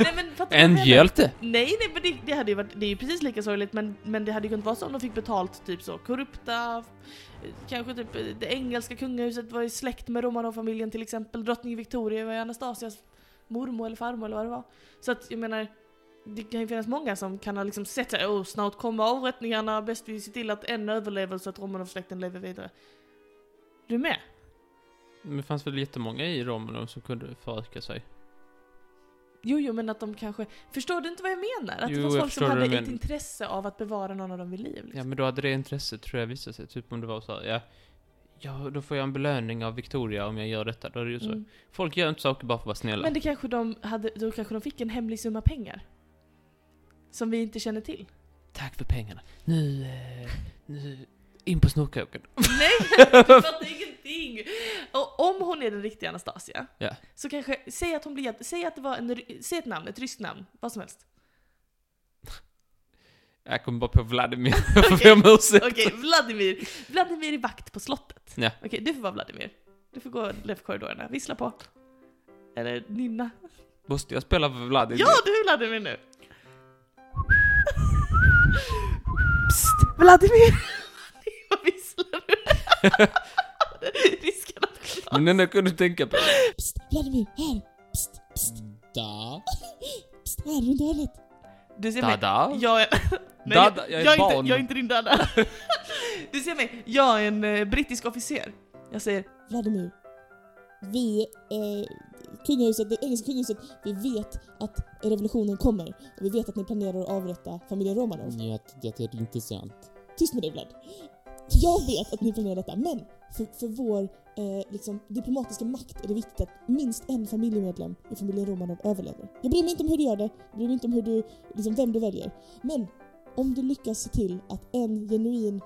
Speaker 1: Nej, men, fattar du vad jag
Speaker 2: En
Speaker 1: menar?
Speaker 2: hjälte!
Speaker 1: Nej, nej men det, det hade ju varit, det är ju precis lika sorgligt men, men det hade ju kunnat vara så om de fick betalt typ så korrupta, eh, kanske typ eh, det engelska kungahuset var i släkt med Romanov-familjen till exempel, drottning Victoria var ju Anastasias mormor eller farmor eller vad det var. Så att jag menar, det kan ju finnas många som kan ha liksom sett såhär, åh snart kommer avrättningarna, bäst vi ser till att en överlever så att Romanov-släkten lever vidare. Du är med?
Speaker 2: Men det fanns väl jättemånga i Romanov som kunde föröka sig?
Speaker 1: Jo, jo, men att de kanske... Förstår du inte vad jag menar? Att
Speaker 2: Jo,
Speaker 1: det fanns
Speaker 2: jag
Speaker 1: folk som
Speaker 2: förstår vad
Speaker 1: hade
Speaker 2: du
Speaker 1: ett
Speaker 2: menar.
Speaker 1: intresse av att bevara någon av dem vid liv. Liksom.
Speaker 2: Ja, men då hade det intresset tror jag visat sig. Typ om det var så här, ja, ja, då får jag en belöning av Victoria om jag gör detta. Då är det ju så.
Speaker 1: Mm.
Speaker 2: Folk gör inte saker bara för att vara snälla.
Speaker 1: Men det kanske de hade, då kanske de fick en hemlig summa pengar. Som vi inte känner till.
Speaker 2: Tack för pengarna. Nu, eh, nu, in på
Speaker 1: <laughs>
Speaker 2: snorkåken.
Speaker 1: Nej, jag fattar ingenting! Och om hon är den riktiga Anastasia,
Speaker 2: Ja.
Speaker 1: så kanske, säg att hon blir, säg att det var en, ry- säg ett namn, ett ryskt namn, vad som helst.
Speaker 2: Jag kommer bara
Speaker 1: <laughs>
Speaker 2: på Vladimir. Jag får om ursäkt.
Speaker 1: Okej, Vladimir. Vladimir är vakt på slottet.
Speaker 2: Ja.
Speaker 1: Okej, du får vara Vladimir. Du får gå längs korridorerna, vissla på. Eller nynna.
Speaker 2: Måste jag spela för Vladimir?
Speaker 1: Ja, du är Vladimir nu! Psst, Vladimir! <laughs> Vad visslar du? <laughs> Risken att
Speaker 2: Men den jag kunde tänka på.
Speaker 3: Psst, Vladimir, här! Psst, psst! Da? Pst, här runt hörnet!
Speaker 1: Du ser mig.
Speaker 2: Dada.
Speaker 1: Jag
Speaker 2: <laughs>
Speaker 1: är... Nej,
Speaker 2: Dada, jag är
Speaker 1: jag,
Speaker 2: barn.
Speaker 1: inte, jag är inte din
Speaker 2: <laughs>
Speaker 1: dada. <laughs> Du ser mig, jag är en eh, brittisk officer. Jag säger,
Speaker 3: Vladimir, vi, eh, kungahuset, det engelska kungahuset, vi vet att revolutionen kommer och vi vet att ni planerar att avrätta familjen Romanov.
Speaker 4: Nej, det är inte sant.
Speaker 3: Tyst med dig Vlad! Jag vet att ni planerar detta, men för, för vår eh, liksom, diplomatiska makt är det viktigt att minst en familjemedlem i familjen Romanov överlever. Jag bryr mig inte om hur du gör det, jag bryr mig inte om hur du, liksom, vem du väljer. Men om du lyckas se till att en genuin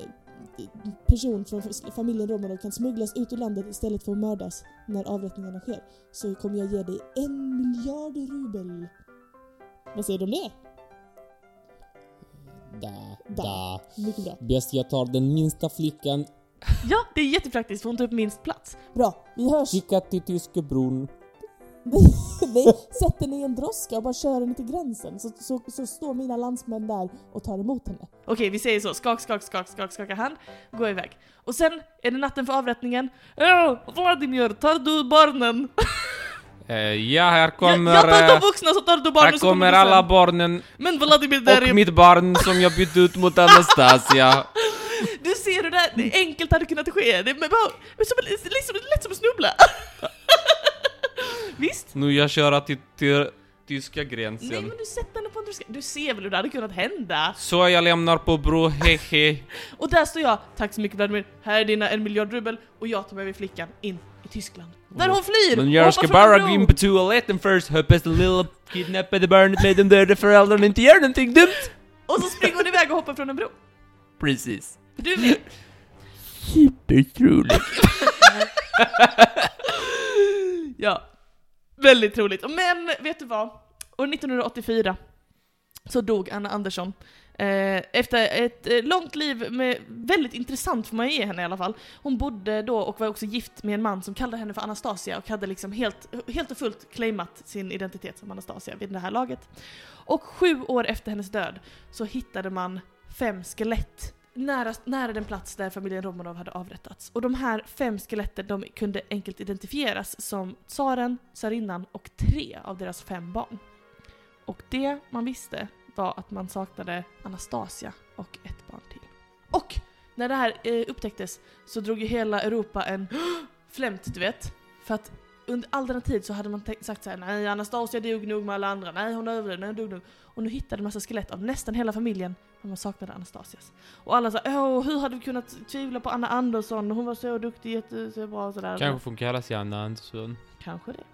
Speaker 3: eh, person från familjen Romanov kan smugglas ut ur landet istället för att mördas när avrättningarna sker så kommer jag ge dig en miljard rubel. Vad säger du om det?
Speaker 4: Da,
Speaker 3: Da.
Speaker 4: da.
Speaker 3: Mycket bra.
Speaker 4: Bäst jag tar den minsta flickan,
Speaker 1: ja det är jättepraktiskt för hon tar upp minst plats.
Speaker 3: Bra, vi hörs!
Speaker 4: skicka till tyske bron.
Speaker 3: Nej, sätt henne i en droska och bara kör henne till gränsen så, så, så står mina landsmän där och tar emot henne.
Speaker 1: Okej, vi säger så. Skak, skak, skak, skak, skaka hand. Gå iväg. Och sen är det natten för avrättningen. Åh, Vladimir, tar du barnen? <laughs>
Speaker 2: Eh, ja, här kommer...
Speaker 1: jag, jag tar de
Speaker 2: eh,
Speaker 1: vuxna så tar du barnen
Speaker 2: här
Speaker 1: så kommer
Speaker 2: kommer
Speaker 1: du sen.
Speaker 2: alla barnen
Speaker 1: Men Vladimir, där är...
Speaker 2: och mitt barn som jag bytte ut mot Anastasia.
Speaker 1: du ser hur det här det är enkelt hade kunnat ske. Det är bara, som, en- liksom, lätt som att
Speaker 2: <laughs>
Speaker 1: snubbla. Visst?
Speaker 2: Nu jag kör till, till tyska
Speaker 1: Nej
Speaker 2: gränsen.
Speaker 1: men du sätter henne på en droska. Du ser väl hur det hade kunnat hända?
Speaker 2: Så jag lämnar på bro, hehe.
Speaker 1: Och där står jag, tack så mycket Vladimir, här är dina en miljard rubel och jag tar med mig flickan in i Tyskland. Där hon flyr!
Speaker 2: Mm. Men
Speaker 1: och
Speaker 2: jag
Speaker 1: hoppar
Speaker 2: ska
Speaker 1: från en
Speaker 2: bara
Speaker 1: bro.
Speaker 2: gå in på toaletten först, hoppas det lilla kidnappade barnet med de döda föräldrarna inte gör någonting dumt.
Speaker 1: Och så springer hon iväg och hoppar från en bro.
Speaker 2: Precis.
Speaker 1: Du vet.
Speaker 2: Supertroligt.
Speaker 1: Ja. Väldigt troligt. Men vet du vad? År 1984 så dog Anna Andersson. Eh, efter ett eh, långt liv med väldigt intressant får man ju ge henne i alla fall. Hon bodde då och var också gift med en man som kallade henne för Anastasia och hade liksom helt, helt och fullt claimat sin identitet som Anastasia vid det här laget. Och sju år efter hennes död så hittade man fem skelett nära, nära den plats där familjen Romanov hade avrättats. Och de här fem skeletten de kunde enkelt identifieras som tsaren, tsarinnan och tre av deras fem barn. Och det man visste var att man saknade Anastasia och ett barn till. Och när det här eh, upptäcktes så drog ju hela Europa en <gasps> flämt, du vet. För att under all denna tid så hade man tänkt- sagt såhär nej Anastasia dog nog med alla andra, nej hon överlevde, nej hon dog nog. Och nu hittade en massa skelett av nästan hela familjen, men man saknade Anastasias. Och alla sa åh hur hade vi kunnat tvivla på Anna Andersson, hon var så duktig, jätte- så bra och sådär.
Speaker 2: Kanske får kalla sig Anna Andersson.
Speaker 1: Kanske det.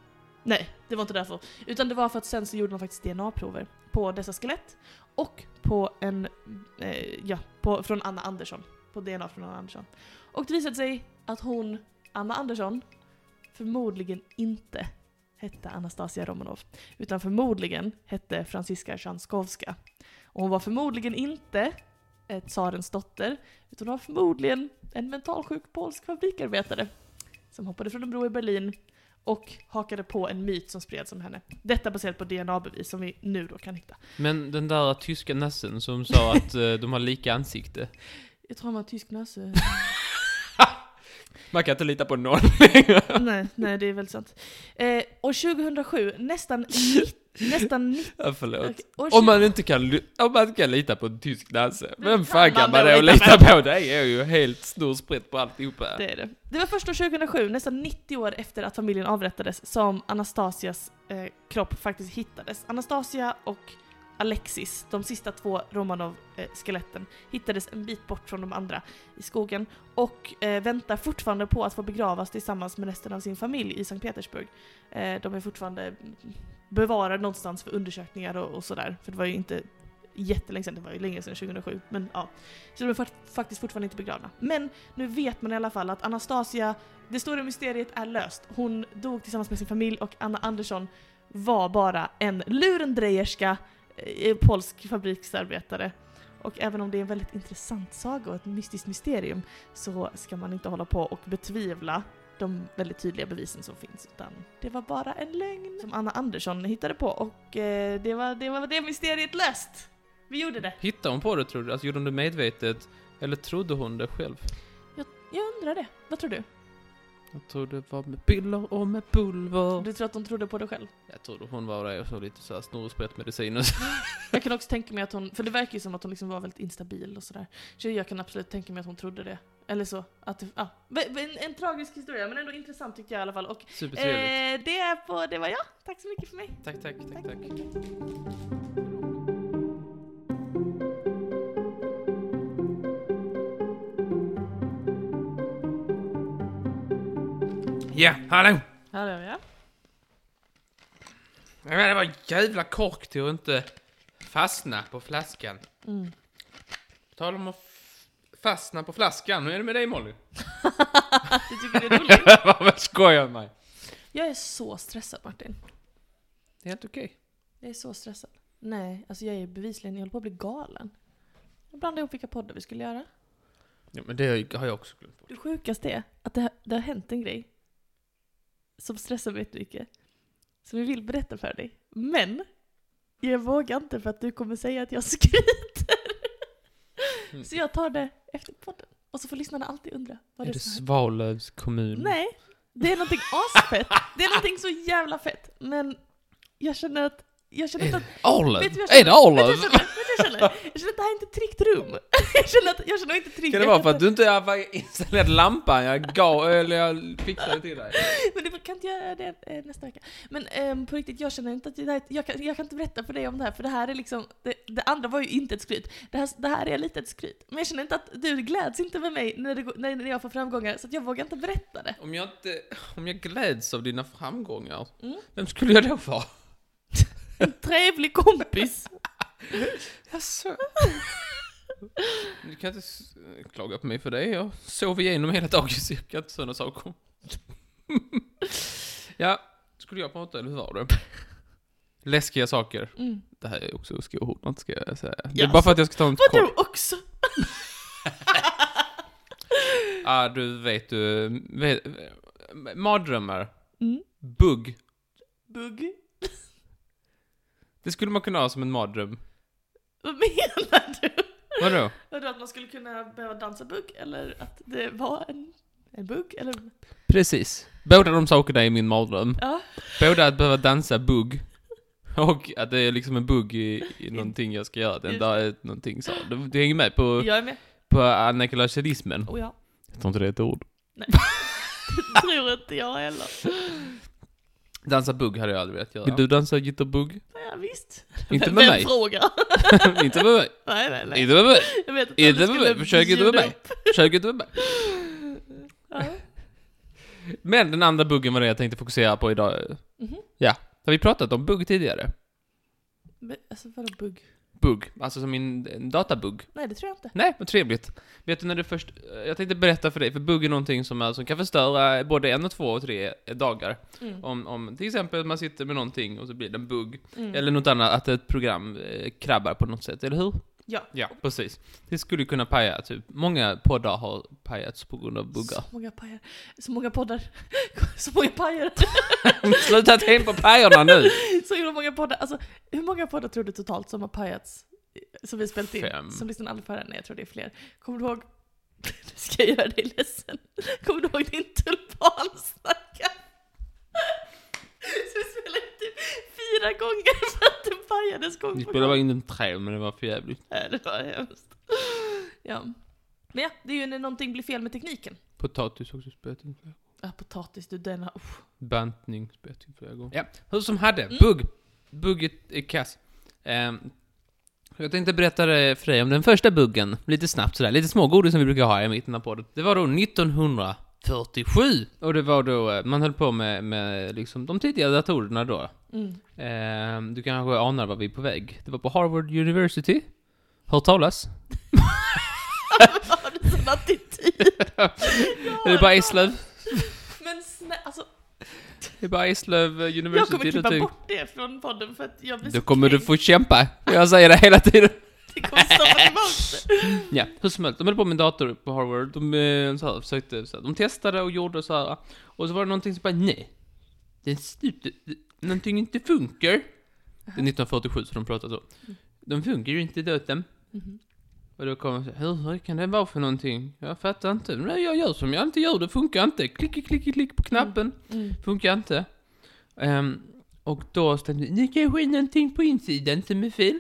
Speaker 1: Nej, det var inte därför. Utan det var för att sen så gjorde man faktiskt DNA-prover på dessa skelett och på en, eh, ja, på, från Anna Andersson. På DNA från Anna Andersson. Och det visade sig att hon, Anna Andersson, förmodligen inte hette Anastasia Romanov. Utan förmodligen hette Franziska Sjanskovska. Och hon var förmodligen inte eh, tsarens dotter, utan hon var förmodligen en mentalsjuk polsk fabrikarbetare. Som hoppade från en bro i Berlin och hakade på en myt som spreds om henne. Detta baserat på DNA-bevis som vi nu då kan hitta.
Speaker 2: Men den där tyska nassen som sa att eh, de har lika ansikte.
Speaker 1: Jag tror han var tysk nöse.
Speaker 2: Man kan inte lita på någon längre.
Speaker 1: <laughs> nej, nej, det är väldigt sant. Eh, år 2007, nästan nitt- nästan nitt-
Speaker 2: <laughs> Ja, Förlåt.
Speaker 1: okej, år
Speaker 2: Om
Speaker 1: 20
Speaker 2: man inte kan, li- om man inte kan lita på en tysk nasse, vem fan kan
Speaker 1: man
Speaker 2: man
Speaker 1: då
Speaker 2: då
Speaker 1: lita
Speaker 2: lita på? Det är ju helt snorspritt på alltihopa.
Speaker 1: Det är det. Det var först år 2007, nästan 90 år efter att familjen avrättades, som Anastasias eh, kropp faktiskt hittades. Anastasia och Alexis, de sista två Romanov-skeletten, hittades en bit bort från de andra i skogen och eh, väntar fortfarande på att få begravas tillsammans med resten av sin familj i Sankt Petersburg. Eh, de är fortfarande mm, bevarade någonstans för undersökningar och, och sådär, för det var ju inte jättelänge sedan, det var ju länge sedan 2007, men ja. Så de är fakt- faktiskt fortfarande inte begravna. Men nu vet man i alla fall att Anastasia, det stora mysteriet är löst. Hon dog tillsammans med sin familj och Anna Andersson var bara en lurendrejerska eh, polsk fabriksarbetare. Och även om det är en väldigt intressant saga och ett mystiskt mysterium så ska man inte hålla på och betvivla de väldigt tydliga bevisen som finns utan det var bara en lögn som Anna Andersson hittade på och eh, det, var, det var det mysteriet löst! Vi gjorde det!
Speaker 2: Hittade hon på det tror du? Alltså gjorde hon det medvetet? Eller trodde hon det själv?
Speaker 1: Jag undrar det, vad tror du?
Speaker 2: Jag tror det var med piller och med pulver.
Speaker 1: Du tror att de trodde på det själv?
Speaker 2: Jag trodde hon var där och så lite såhär snorsprättmedicin och så. <laughs>
Speaker 1: Jag kan också tänka mig att hon, för det verkar ju som att hon liksom var väldigt instabil och sådär. Så jag kan absolut tänka mig att hon trodde det. Eller så. Att, det- ja. Men- men En, en tragisk historia, men ändå intressant tycker jag i alla fall. Och, eh,
Speaker 2: Supertrevligt.
Speaker 1: det, är på, det var jag. Tack så mycket för mig.
Speaker 2: Tack, tack, tack, tack. Ja, hallå!
Speaker 1: Här är jag.
Speaker 2: Jag menar, det var en jävla kork till att inte fastna på flaskan.
Speaker 1: Mm.
Speaker 2: På tal om att f- fastna på flaskan, hur är det med dig Molly?
Speaker 1: Du tycker det är
Speaker 2: <laughs>
Speaker 1: roligt?
Speaker 2: Vad skojar med mig?
Speaker 1: Jag är så stressad Martin.
Speaker 2: Det är helt okej.
Speaker 1: Jag är så stressad. Nej, alltså jag är bevisligen, jag håller på att bli galen. Jag blandade ihop vilka poddar vi skulle göra.
Speaker 2: Ja, men det har jag- har jag också glömt bort.
Speaker 1: Det sjukaste är att det, har- det har hänt en grej. Som stressar mig mycket. som jag vill berätta för dig. Men jag vågar inte för att du kommer säga att jag <laughs> skryter.
Speaker 2: Mm.
Speaker 1: Så jag tar det efter podden. Och så får lyssnarna alltid undra vad
Speaker 2: Är
Speaker 1: det
Speaker 2: det
Speaker 1: är som händer.
Speaker 2: Svalövs kommun?
Speaker 1: Nej, det är någonting asfett. Det är någonting så jävla fett. Men jag känner att jag känner inte att...
Speaker 2: Arlöv?
Speaker 1: Vet du vad jag
Speaker 2: Är
Speaker 1: Vet
Speaker 2: det
Speaker 1: du
Speaker 2: Arlöv?
Speaker 1: vad jag känner? Vet du vad jag känner? Jag känner att det här är inte ett tryggt rum. <laughs> Jag känner att jag känner mig inte trygg.
Speaker 2: Kan det
Speaker 1: Jag
Speaker 2: vara för
Speaker 1: kan
Speaker 2: att du inte har installerat lampan? Jag gav, eller jag fixade till dig.
Speaker 1: <laughs> Men du kan inte göra det eh, nästa vecka. Men ehm, på riktigt, jag känner inte att det här, jag, kan, jag kan inte berätta för dig om det här, för det här är liksom, det, det andra var ju inte ett skryt. Det här, det här är lite ett skryt. Men jag känner inte att du gläds inte med mig när, det, går- när, när jag får framgångar, så att jag vågar inte berätta det.
Speaker 2: Om jag inte, om jag gläds av dina framgångar,
Speaker 1: Mm.
Speaker 2: vem skulle jag då vara?
Speaker 1: En trevlig kompis.
Speaker 2: Jaså? <laughs> Du kan inte s- klaga på mig för det, jag sov igenom hela dagen så jag kan inte sådana saker. <laughs> ja, skulle jag prata eller hur var det? Läskiga saker.
Speaker 1: Mm.
Speaker 2: Det här är också skohorn, man ska jag säga. Det
Speaker 1: Ja,
Speaker 2: är bara för att jag ska ta en
Speaker 1: Vad
Speaker 2: kort.
Speaker 1: du också.
Speaker 2: Ja, du vet du, vet, mardrömmar,
Speaker 1: <laughs> Mm.
Speaker 2: bugg.
Speaker 1: Bugg.
Speaker 2: Det skulle man kunna ha som en mardröm.
Speaker 1: Vad menar du?
Speaker 2: Vadå?
Speaker 1: Vadå, att man skulle kunna behöva dansa bugg? Eller att det var en, en bugg? Eller?
Speaker 2: Precis. Båda de sakerna är min mardröm.
Speaker 1: Ja.
Speaker 2: Både att behöva dansa bugg och att det är liksom en bugg i, i någonting jag ska göra. Den
Speaker 1: Just
Speaker 2: där är någonting så. Du, du hänger med på,
Speaker 1: Jag är med.
Speaker 2: på anekulationismen.
Speaker 1: Och ja.
Speaker 2: Jag tror inte det är ett ord.
Speaker 1: Det <laughs> tror inte jag heller.
Speaker 2: Dansa bugg hade jag aldrig velat göra.
Speaker 4: Vill
Speaker 2: Vill du dansa jitterbugg?
Speaker 1: Ja, visst.
Speaker 2: <laughs> Inte
Speaker 1: Vem-
Speaker 2: med
Speaker 1: Vem
Speaker 2: mig.
Speaker 1: frågar?
Speaker 2: inte med mig.
Speaker 1: <laughs> Nej, nej, nej.
Speaker 2: Inte med mig.
Speaker 1: Jag vet att
Speaker 2: Inte
Speaker 1: du
Speaker 2: med
Speaker 1: skulle
Speaker 2: mig. Försök inte med
Speaker 1: bjuda
Speaker 2: mig.
Speaker 1: upp.
Speaker 2: Försök inte med mig.
Speaker 1: Ja.
Speaker 2: Men den andra buggen var det jag tänkte fokusera på idag.
Speaker 1: <laughs> Mhm.
Speaker 2: Har vi pratat om bugg tidigare?
Speaker 1: Men, alltså vadå bugg?
Speaker 2: Bugg. Alltså som en, en databugg.
Speaker 1: Nej, det tror jag inte.
Speaker 2: Nej, vad trevligt. Vet du när du först... eh, Jag tänkte berätta för dig, för bugg är någonting som, är, som kan förstöra både en och två och tre dagar.
Speaker 1: Mm.
Speaker 2: Om, om till exempel man sitter med någonting och så blir det en bugg.
Speaker 1: Mm.
Speaker 2: Eller något annat, att ett program eh, krabbar på något sätt, eller hur?
Speaker 1: Ja.
Speaker 2: Ja, precis. Det skulle kunna paja, typ. Många poddar har pajats på grund av buggar.
Speaker 1: Så många pajer. Så många poddar. <laughs> Så många pajer.
Speaker 2: <laughs> Sluta tänka på pajerna nu!
Speaker 1: <laughs> Så himla många poddar. Alltså, hur många poddar tror du totalt som har pajats? eh, Som vi spelat in?
Speaker 2: Fem.
Speaker 1: Som lyssnar aldrig på den? Nej, jag tror det är fler. Kommer du ihåg? <laughs> Nu ska jag göra dig ledsen. Kommer du ihåg din tulpansnacka? <laughs> Så vi spelade in typ fyra gånger för att det pajades
Speaker 2: Vi
Speaker 1: gång på
Speaker 2: spelade bara
Speaker 1: gång.
Speaker 2: in den tre, men det var för jävligt.
Speaker 1: Nej, det var hemskt. Ja. Men ja, det är ju när någonting blir fel med tekniken.
Speaker 2: Potatis också spelat in flera
Speaker 1: Ja, Ah, potatis du, den har... uff.
Speaker 2: Bantning spelat in flera gånger. Ja, hur som hade,
Speaker 1: Mm.
Speaker 2: bugg! Bugget är kass. Ehm, jag tänkte berätta det för dig om den första buggen, lite snabbt sådär, lite smågodis som vi brukar ha i mitten av podden. Det var då 1947! Och det var då, eh, man höll på med, med liksom de tidigare datorerna då.
Speaker 1: Mm.
Speaker 2: Ehm, du kanske anar vad vi är på väg. Det var på Harvard University. Hört talas?
Speaker 1: Vad <laughs> har du sån <laughs> attityd? Ja,
Speaker 2: Det är bara Eslöv.
Speaker 1: Men snälla, alltså
Speaker 2: Det är bara Eslöv eh,
Speaker 1: Jag
Speaker 2: University.
Speaker 1: kommer
Speaker 2: du
Speaker 1: klippa
Speaker 2: tycker-
Speaker 1: bort det från podden för att jag blir
Speaker 2: Då
Speaker 1: så
Speaker 2: kommer du
Speaker 1: kränkt.
Speaker 2: få kämpa. Jag säger det hela tiden.
Speaker 1: <laughs> Det kommer stoppa tillbaka det.
Speaker 2: Ja, hur som helst. De höll på med dator på Harvard. De eh, så här, försökte, så här, de testade och gjorde så här. Och så var det någonting som bara, nej. Den slutar, någonting inte funkar. Det är 1947 så de pratar så. De funkar ju inte datorn.
Speaker 1: Mhm.
Speaker 2: Och då kommer så här, hur, hur kan det vara för någonting? Jag fattar inte. Nej, jag gör som jag alltid gör, det funkar inte. Klick, klick, klick på knappen.
Speaker 1: Mm.
Speaker 2: Funkar inte. Ehm, och då stämde det, kanske är någonting på insidan som är fel.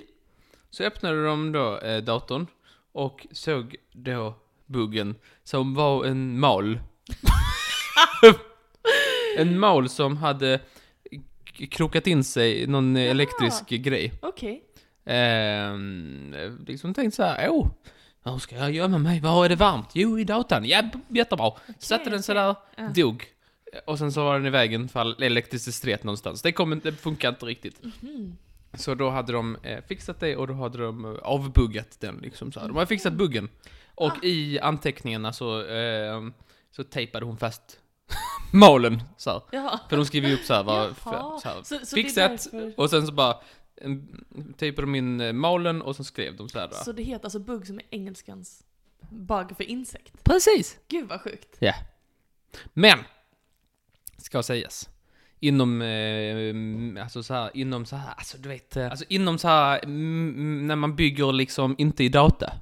Speaker 2: Så öppnade de då eh, datorn och såg då buggen som var en mal. <laughs> en mal som hade k- krokat in sig i någon eh,
Speaker 1: Jaha.
Speaker 2: elektrisk grej.
Speaker 1: Okej.
Speaker 2: Ehm, liksom tänkt så här, åh, hur ska jag gömma mig? Var är det varmt? Jo, i datorn. Ja, b- jättebra. Satte den så där,
Speaker 1: Ja.
Speaker 2: dog. Och sen så var den i vägen för elektricitet någonstans. Det, kom, inte- det funkar inte riktigt.
Speaker 1: Mhm.
Speaker 2: Så då hade de eh, fixat det och då hade de eh, avbuggat den liksom så här. De hade
Speaker 1: Mhm.
Speaker 2: fixat buggen. Och
Speaker 1: Ah.
Speaker 2: i anteckningarna så, eh, så tejpade hon fast <laughs> malen så här.
Speaker 1: Jaha.
Speaker 2: För de skriver ju upp så här, vad,
Speaker 1: Jaha.
Speaker 2: så här,
Speaker 1: Så, så
Speaker 2: fixat.
Speaker 1: Det är därför,
Speaker 2: och sen så bara mm, tejpade de in eh, malen och sen skrev de så här.
Speaker 1: så det heter alltså bugg som är engelskans bug för insekt.
Speaker 2: Precis!
Speaker 1: Gud vad sjukt.
Speaker 2: Men! Ska sägas. inom, eh, alltså så här, inom så här, alltså du vet, eh, alltså inom så här, mm, när man bygger liksom inte i data.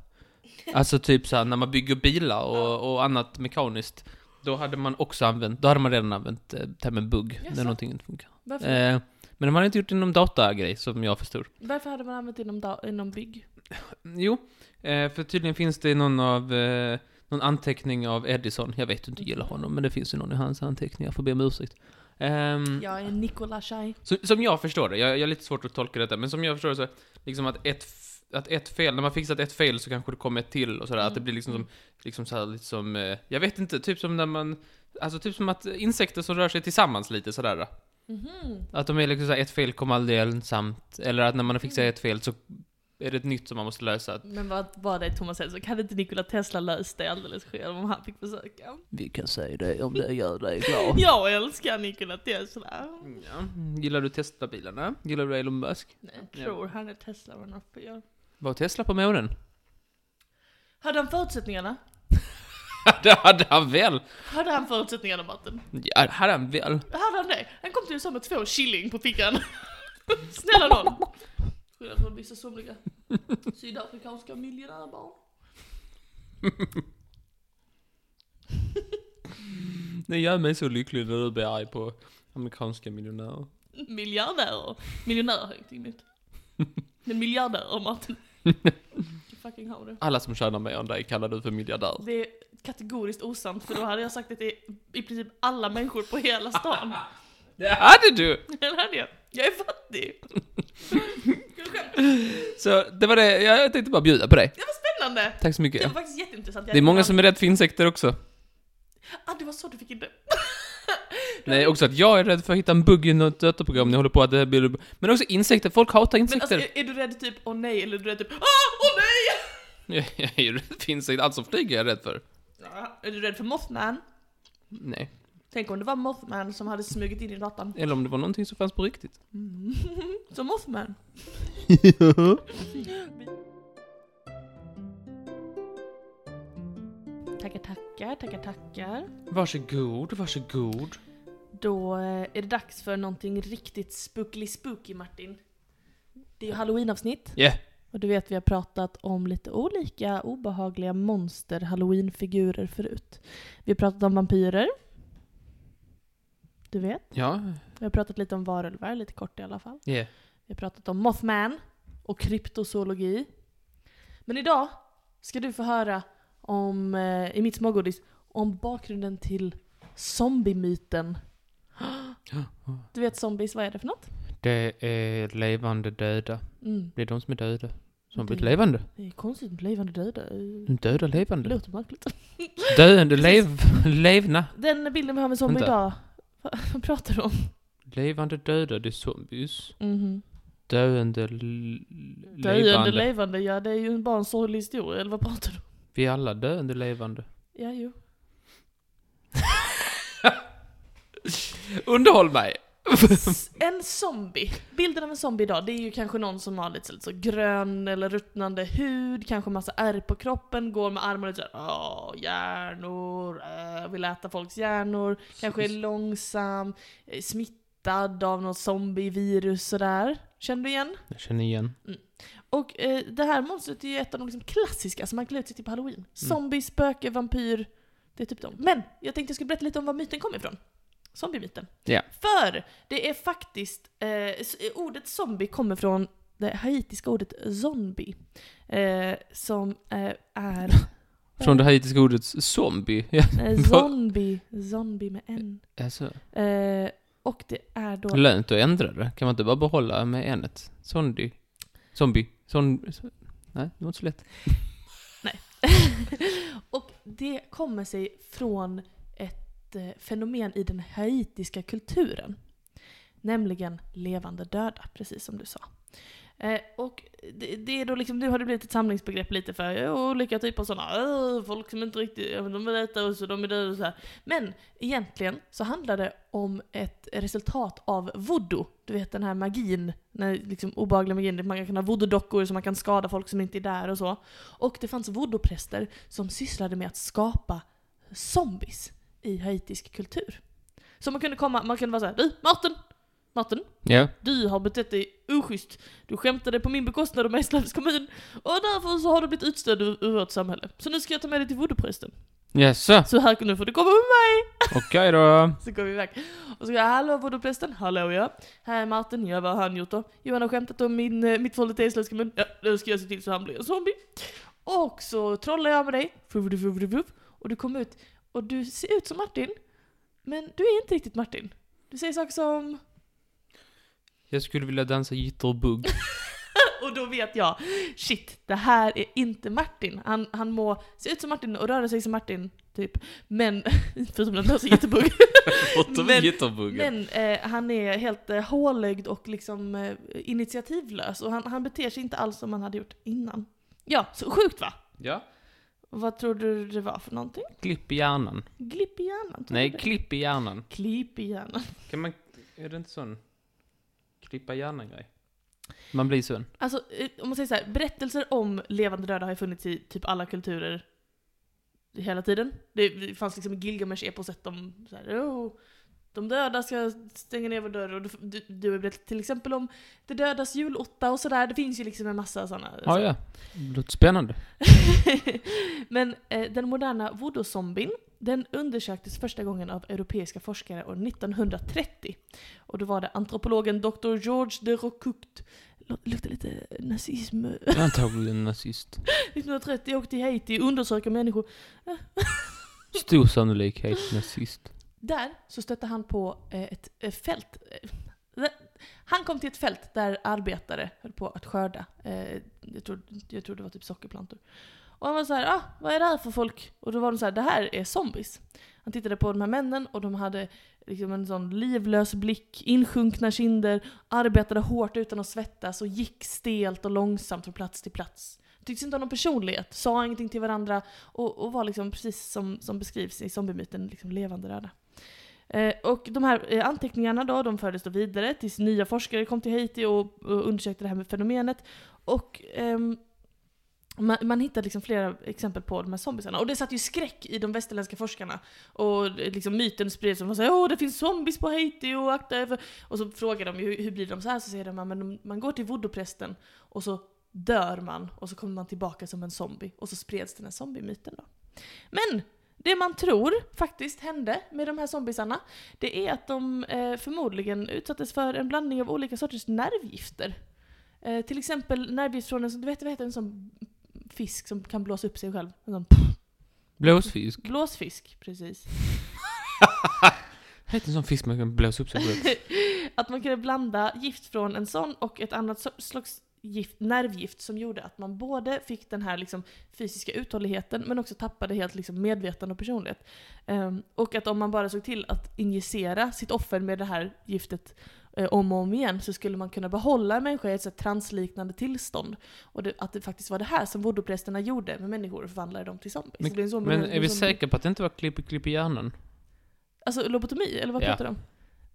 Speaker 2: Alltså typ så här, när man bygger bilar och, och annat mekaniskt. Då hade man också använt, då hade man redan använt eh, termen bugg,
Speaker 1: Jaså?
Speaker 2: när någonting inte funkar.
Speaker 1: Varför,
Speaker 2: Eh, men de hade inte gjort det inom datagrej, som jag förstod.
Speaker 1: varför hade man använt inom, da- inom bygg?
Speaker 2: Jo, eh, för tydligen finns det någon av eh, någon anteckning av Edison. Jag vet du inte gillar honom, men det finns ju någon i hans anteckningar. Får be om ursäkt. Ehm,
Speaker 1: Jag är Nikola Shai.
Speaker 2: så, som jag förstår det, jag, jag är lite svårt att tolka detta, men som jag förstår det så, är liksom att ett, f- att ett fel, när man fixat ett fel så kanske det kommer ett till och sådär, att det blir liksom som, liksom så här, lite som, eh, jag vet inte, typ som när man, alltså typ som att insekter som rör sig tillsammans lite sådär.
Speaker 1: Mhm.
Speaker 2: Att de är liksom såhär, ett fel kommer aldrig ensamt, eller att när man har fixat ett fel så är det ett nytt som man måste lösa.
Speaker 1: Men vad var det Thomas Edison? Kan inte Nikola Tesla löst det alldeles själv om han fick försöka?
Speaker 2: Vi kan säga det om det gör dig glad.
Speaker 1: Jag älskar Nikola Tesla.
Speaker 2: <laughs> Ja. Gillar du Tesla-bilarna? eh? Gillar du Elon Musk?
Speaker 1: Nej, jag tror han är Tesla var något på jag.
Speaker 2: Var Tesla på månen? <laughs>
Speaker 1: Hade han förutsättningarna?
Speaker 2: det hade han väl!
Speaker 1: Hade han förutsättningarna Martin?
Speaker 2: Ja, det hade han väl.
Speaker 1: Hade han det? Han kom till USA med två shilling på fickan. <laughs> Snälla nån! Skylla från vissa somliga sydafrikanska miljonärbarn.
Speaker 2: Det gör mig så lycklig när du blir arg på amerikanska miljonärer.
Speaker 1: Miljardärer. Miljonärer har ju ingenting nytt. Men miljardärer Martin. You fucking har det.
Speaker 2: Alla som tjänar mer än dig kallar du för miljardär.
Speaker 1: Det är kategoriskt osant för då hade jag sagt att det är i princip alla människor på hela
Speaker 2: <laughs>
Speaker 1: stan.
Speaker 2: Det hade du!
Speaker 1: Det hade jag. Jag är fattig.
Speaker 2: Så det var det, jag jag tänkte bara bjuda på dig.
Speaker 1: Det var spännande.
Speaker 2: Tack så
Speaker 1: Det
Speaker 2: mycket.
Speaker 1: var faktiskt jätteintressant. Jag
Speaker 2: Det är
Speaker 1: hade
Speaker 2: många
Speaker 1: glömt-
Speaker 2: som är rädd för insekter också.
Speaker 1: Ah, det var så du fick <laughs> in det.
Speaker 2: Nej, också att jag är rädd för att hitta en bugg i något dataprogram när jag håller på att det här blir... Men också insekter, folk hatar
Speaker 1: Men
Speaker 2: insekter.
Speaker 1: alltså, är, är du rädd typ åh nej eller är du rädd typ ah, åh nej? <laughs>
Speaker 2: <laughs> Jag är ju rädd för insekter, allt som flyger är jag rädd för.
Speaker 1: Ja, Är du rädd för Mothman?
Speaker 2: Nej.
Speaker 1: Tänk om det var Mothman som hade smugit in i datan.
Speaker 2: Eller om det var någonting som fanns på riktigt.
Speaker 1: <laughs> Som Mothman. tackar, tackar, tackar, tackar.
Speaker 2: <laughs> Varsågod, varsågod.
Speaker 1: Då eh, är det dags för någonting riktigt spookly spooky Martin. Det är ju halloweenavsnitt.
Speaker 2: Yeah.
Speaker 1: Och du vet vi har pratat om lite olika obehagliga monster halloweenfigurer förut. Vi har pratat om vampyrer. Du vet.
Speaker 2: Ja.
Speaker 1: Vi har pratat lite om varulvar, lite kort i alla fall.
Speaker 2: Yeah.
Speaker 1: Vi har pratat om Mothman och kryptozoologi. Men idag ska du få höra om, eh, i mitt smågodis, om bakgrunden till
Speaker 2: <gasps>
Speaker 1: zombiemyten. Du vet zombies, vad är det för något?
Speaker 2: Det är levande döda.
Speaker 1: Mm.
Speaker 2: Det är de som är döda. Som har blivit
Speaker 1: Det-
Speaker 2: levande.
Speaker 1: Det är konstigt med levande döda. eh,
Speaker 2: Döda
Speaker 1: Det
Speaker 2: levande.
Speaker 1: låter märkligt.
Speaker 2: Döende, lev,
Speaker 1: Precis.
Speaker 2: <laughs> levna.
Speaker 1: Den bilden vi har med zombie
Speaker 2: Vänta.
Speaker 1: idag, vad, <laughs> vad pratar du om?
Speaker 2: Levande döda, det är zombies.
Speaker 1: Mhm.
Speaker 2: Döende, l-
Speaker 1: Döende
Speaker 2: levande.
Speaker 1: levande, ja det är ju bara en sorglig historia, eller vad pratar du om?
Speaker 2: Vi är alla döende levande.
Speaker 1: Ja, jo.
Speaker 2: Underhåll mig!
Speaker 1: S- <laughs> En zombie. Bilden av en zombie idag, det är ju kanske någon som har lite så, lite så grön eller ruttnande hud, kanske massa ärr på kroppen, går med armarna lite såhär åh, hjärnor, äh, vill äta folks hjärnor, kanske är långsam, eh, smittad av något zombievirus sådär. Känner du igen?
Speaker 2: Jag känner igen.
Speaker 1: Och eh, det här monstret är ju ett av de liksom klassiska som man klär ut sig till på halloween.
Speaker 2: Mm.
Speaker 1: Zombie, spöke, vampyr. Det är typ de. Men jag tänkte jag skulle berätta lite om var myten kom ifrån. Zombiemyten.
Speaker 2: Ja.
Speaker 1: För det är faktiskt, eh, s- ordet zombie kommer från det haitiska ordet zombie. Eh, som eh, är...
Speaker 2: Från det haitiska ordet zombie. Ja, <laughs>
Speaker 1: Eh, zombie, zombie med n.
Speaker 2: alltså.
Speaker 1: Eh, och det är då...
Speaker 2: Lönt att ändra det. Kan man inte bara behålla med enet? Zombie. Zombie. Zombie. Nej, det var inte så lätt.
Speaker 1: <laughs> Och det kommer sig från ett eh, fenomen i den haitiska kulturen. Nämligen levande döda, precis som du sa. Eh, och det, det är då liksom, nu har det blivit ett samlingsbegrepp lite för eh, olika typer av sådana, folk som inte riktigt, ja, men de vill äta oss och de är döda och så här. Men egentligen så handlar det om ett resultat av voodoo. Du vet den här magin, när liksom obehagliga magin, man kan ha voodoo-dockor som man kan skada folk som inte är där och så. Och det fanns voodoo-präster som sysslade med att skapa zombies i haitisk kultur. Så man kunde komma, man kunde vara såhär, du Martin! Martin,
Speaker 2: Ja.
Speaker 1: du har betett dig oschysst. Du skämtade på min bekostnad om Eslövs kommun och därför så har du blivit utstött ur, ur vårt samhälle. Så nu ska jag ta med dig till voodoo-prästen.
Speaker 2: Jaså?
Speaker 1: Så här, nu får du komma med mig!
Speaker 2: Okej då.
Speaker 1: Så går vi iväg. Och så går jag, hallå voodoo-prästen, hallå ja. Här är Martin, ja vad har han gjort då? Jo han har skämtat om min, eh, mitt förhållande till Eslövs kommun. Ja, nu ska jag se till så han blir en zombie. Och så trollar jag med dig. Fuv, fuv, fuv, fuv, fuv. Och du kommer ut och du ser ut som Martin. Men du är inte riktigt Martin. Du säger saker som <laughs>
Speaker 2: Jag skulle vilja dansa <laughs> jitterbug.
Speaker 1: Och då vet jag, shit, det här är inte Martin. Han, han må se ut som Martin och röra sig som Martin, typ. Men, <laughs> förutom att han ser jättebugg.
Speaker 2: Bortom
Speaker 1: Men-
Speaker 2: jitterbugen.
Speaker 1: Men eh, han är helt eh, hålögd och liksom eh, initiativlös. Och han, han beter sig inte alls som han hade gjort innan. Ja, så sjukt va?
Speaker 2: Ja.
Speaker 1: Och Vad tror du det var för någonting?
Speaker 2: Klipp i hjärnan.
Speaker 1: Glipp i hjärnan? tror du
Speaker 2: Nej,
Speaker 1: det?
Speaker 2: klipp i hjärnan.
Speaker 1: Klipp i hjärnan.
Speaker 2: Kan man... Är det inte sån... Klippa hjärnan-grej? Man blir sån.
Speaker 1: Alltså, eh, om man säger så här, berättelser om levande döda har ju funnits i typ alla kulturer hela tiden. Det, det fanns liksom i Gilgamesh eposet om så här, oh, de döda ska stänga ner vår dörr. Och du, du, du har berättat till exempel om de dödas julotta och sådär. Det finns ju liksom en massa sådana.
Speaker 2: Ja, ja. Låter spännande.
Speaker 1: <laughs> Men eh, den moderna voodoo-zombien, den undersöktes första gången av europeiska forskare år 1930. Och då var det antropologen Dr. George de Rocuct. Lå- Luktar lite nazism. <laughs>
Speaker 2: Antagligen nazist.
Speaker 1: 1930 åkte till Haiti och undersöker människor.
Speaker 2: Stor sannolikhet nazist.
Speaker 1: Där så stötte han på eh, ett eh, fält. Eh, Han kom till ett fält där arbetare höll på att skörda. eh, Jag tror, jag tror det var typ sockerplantor. Och han var så här, ah, vad är det här för folk? Och då var de så här, det här är zombies. Han tittade på de här männen och de hade liksom en sån livlös blick, insjunkna kinder, arbetade hårt utan att svettas och gick stelt och långsamt från plats till plats. Tycktes inte ha någon personlighet, sa ingenting till varandra och, och var liksom precis som, som beskrivs i zombiemyten, liksom levande röda. Eh, och de här eh, anteckningarna då, de fördes då vidare tills nya forskare kom till Haiti och, och undersökte det här med fenomenet. Och ehm, man, man hittade liksom flera exempel på de här zombiesarna. Och det satt ju skräck i de västerländska forskarna. Och eh, liksom myten spreds om att åh det finns zombies på Haiti och akta er för... Och så frågar de ju hur, hur blir de så här? Så säger de "Ja, men de- man går till voodoo-prästen och så dör man och så kommer man tillbaka som en zombie. Och så spreds den här zombiemyten då. Men det man tror faktiskt hände med de här zombiesarna, det är att de eh, förmodligen utsattes för en blandning av olika sorters nervgifter. Eh, till exempel nervgift från en, sån- du vet, vad heter en sån fisk som kan blåsa upp sig själv? En sån
Speaker 2: Blåsfisk.
Speaker 1: blåsfisk, precis.
Speaker 2: Heter en sån fisk man kan blåsa upp
Speaker 1: <laughs>
Speaker 2: sig själv?
Speaker 1: att man kunde blanda gift från en sån och ett annat so- slags gift, nervgift som gjorde att man både fick den här liksom, fysiska uthålligheten men också tappade helt liksom, medvetande och personlighet. Ehm, och att om man bara såg till att injicera sitt offer med det här giftet eh, om och om igen så skulle man kunna behålla en människa i ett så här transliknande tillstånd. Och det, att det faktiskt var det här som voodoo-prästerna gjorde med människor och förvandlade dem till zombies.
Speaker 2: Men-
Speaker 1: Det blev en zombie-
Speaker 2: Men
Speaker 1: en
Speaker 2: är vi
Speaker 1: zombie-
Speaker 2: säkra på att det inte var klipp i klipp i hjärnan?
Speaker 1: Alltså lobotomi, eller vad
Speaker 2: Ja.
Speaker 1: pratar du om?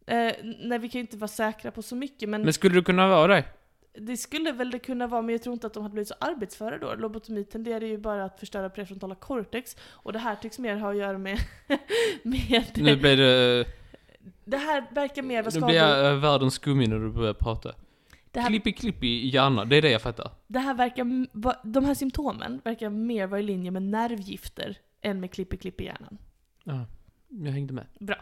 Speaker 1: Eh, nej, vi kan ju inte vara säkra på så mycket, men,
Speaker 2: Men skulle det kunna vara det?
Speaker 1: det skulle väl det kunna vara, men jag tror inte att de hade blivit så arbetsföra då. Lobotomi tenderar ju bara att förstöra prefrontala cortex, och det här tycks mer ha att göra med... <laughs> med
Speaker 2: Nu blir <laughs> det...
Speaker 1: Det här verkar mer vara
Speaker 2: Nu
Speaker 1: skador...
Speaker 2: blir jag eh, världens skummig när du börjar prata.
Speaker 1: Det, här,
Speaker 2: Klipp i klipp i hjärnan, det är det jag fattar.
Speaker 1: det här verkar... m- va- De här symptomen verkar mer vara i linje med nervgifter än med klipp i klipp i hjärnan.
Speaker 2: Ja, jag hängde med.
Speaker 1: Bra.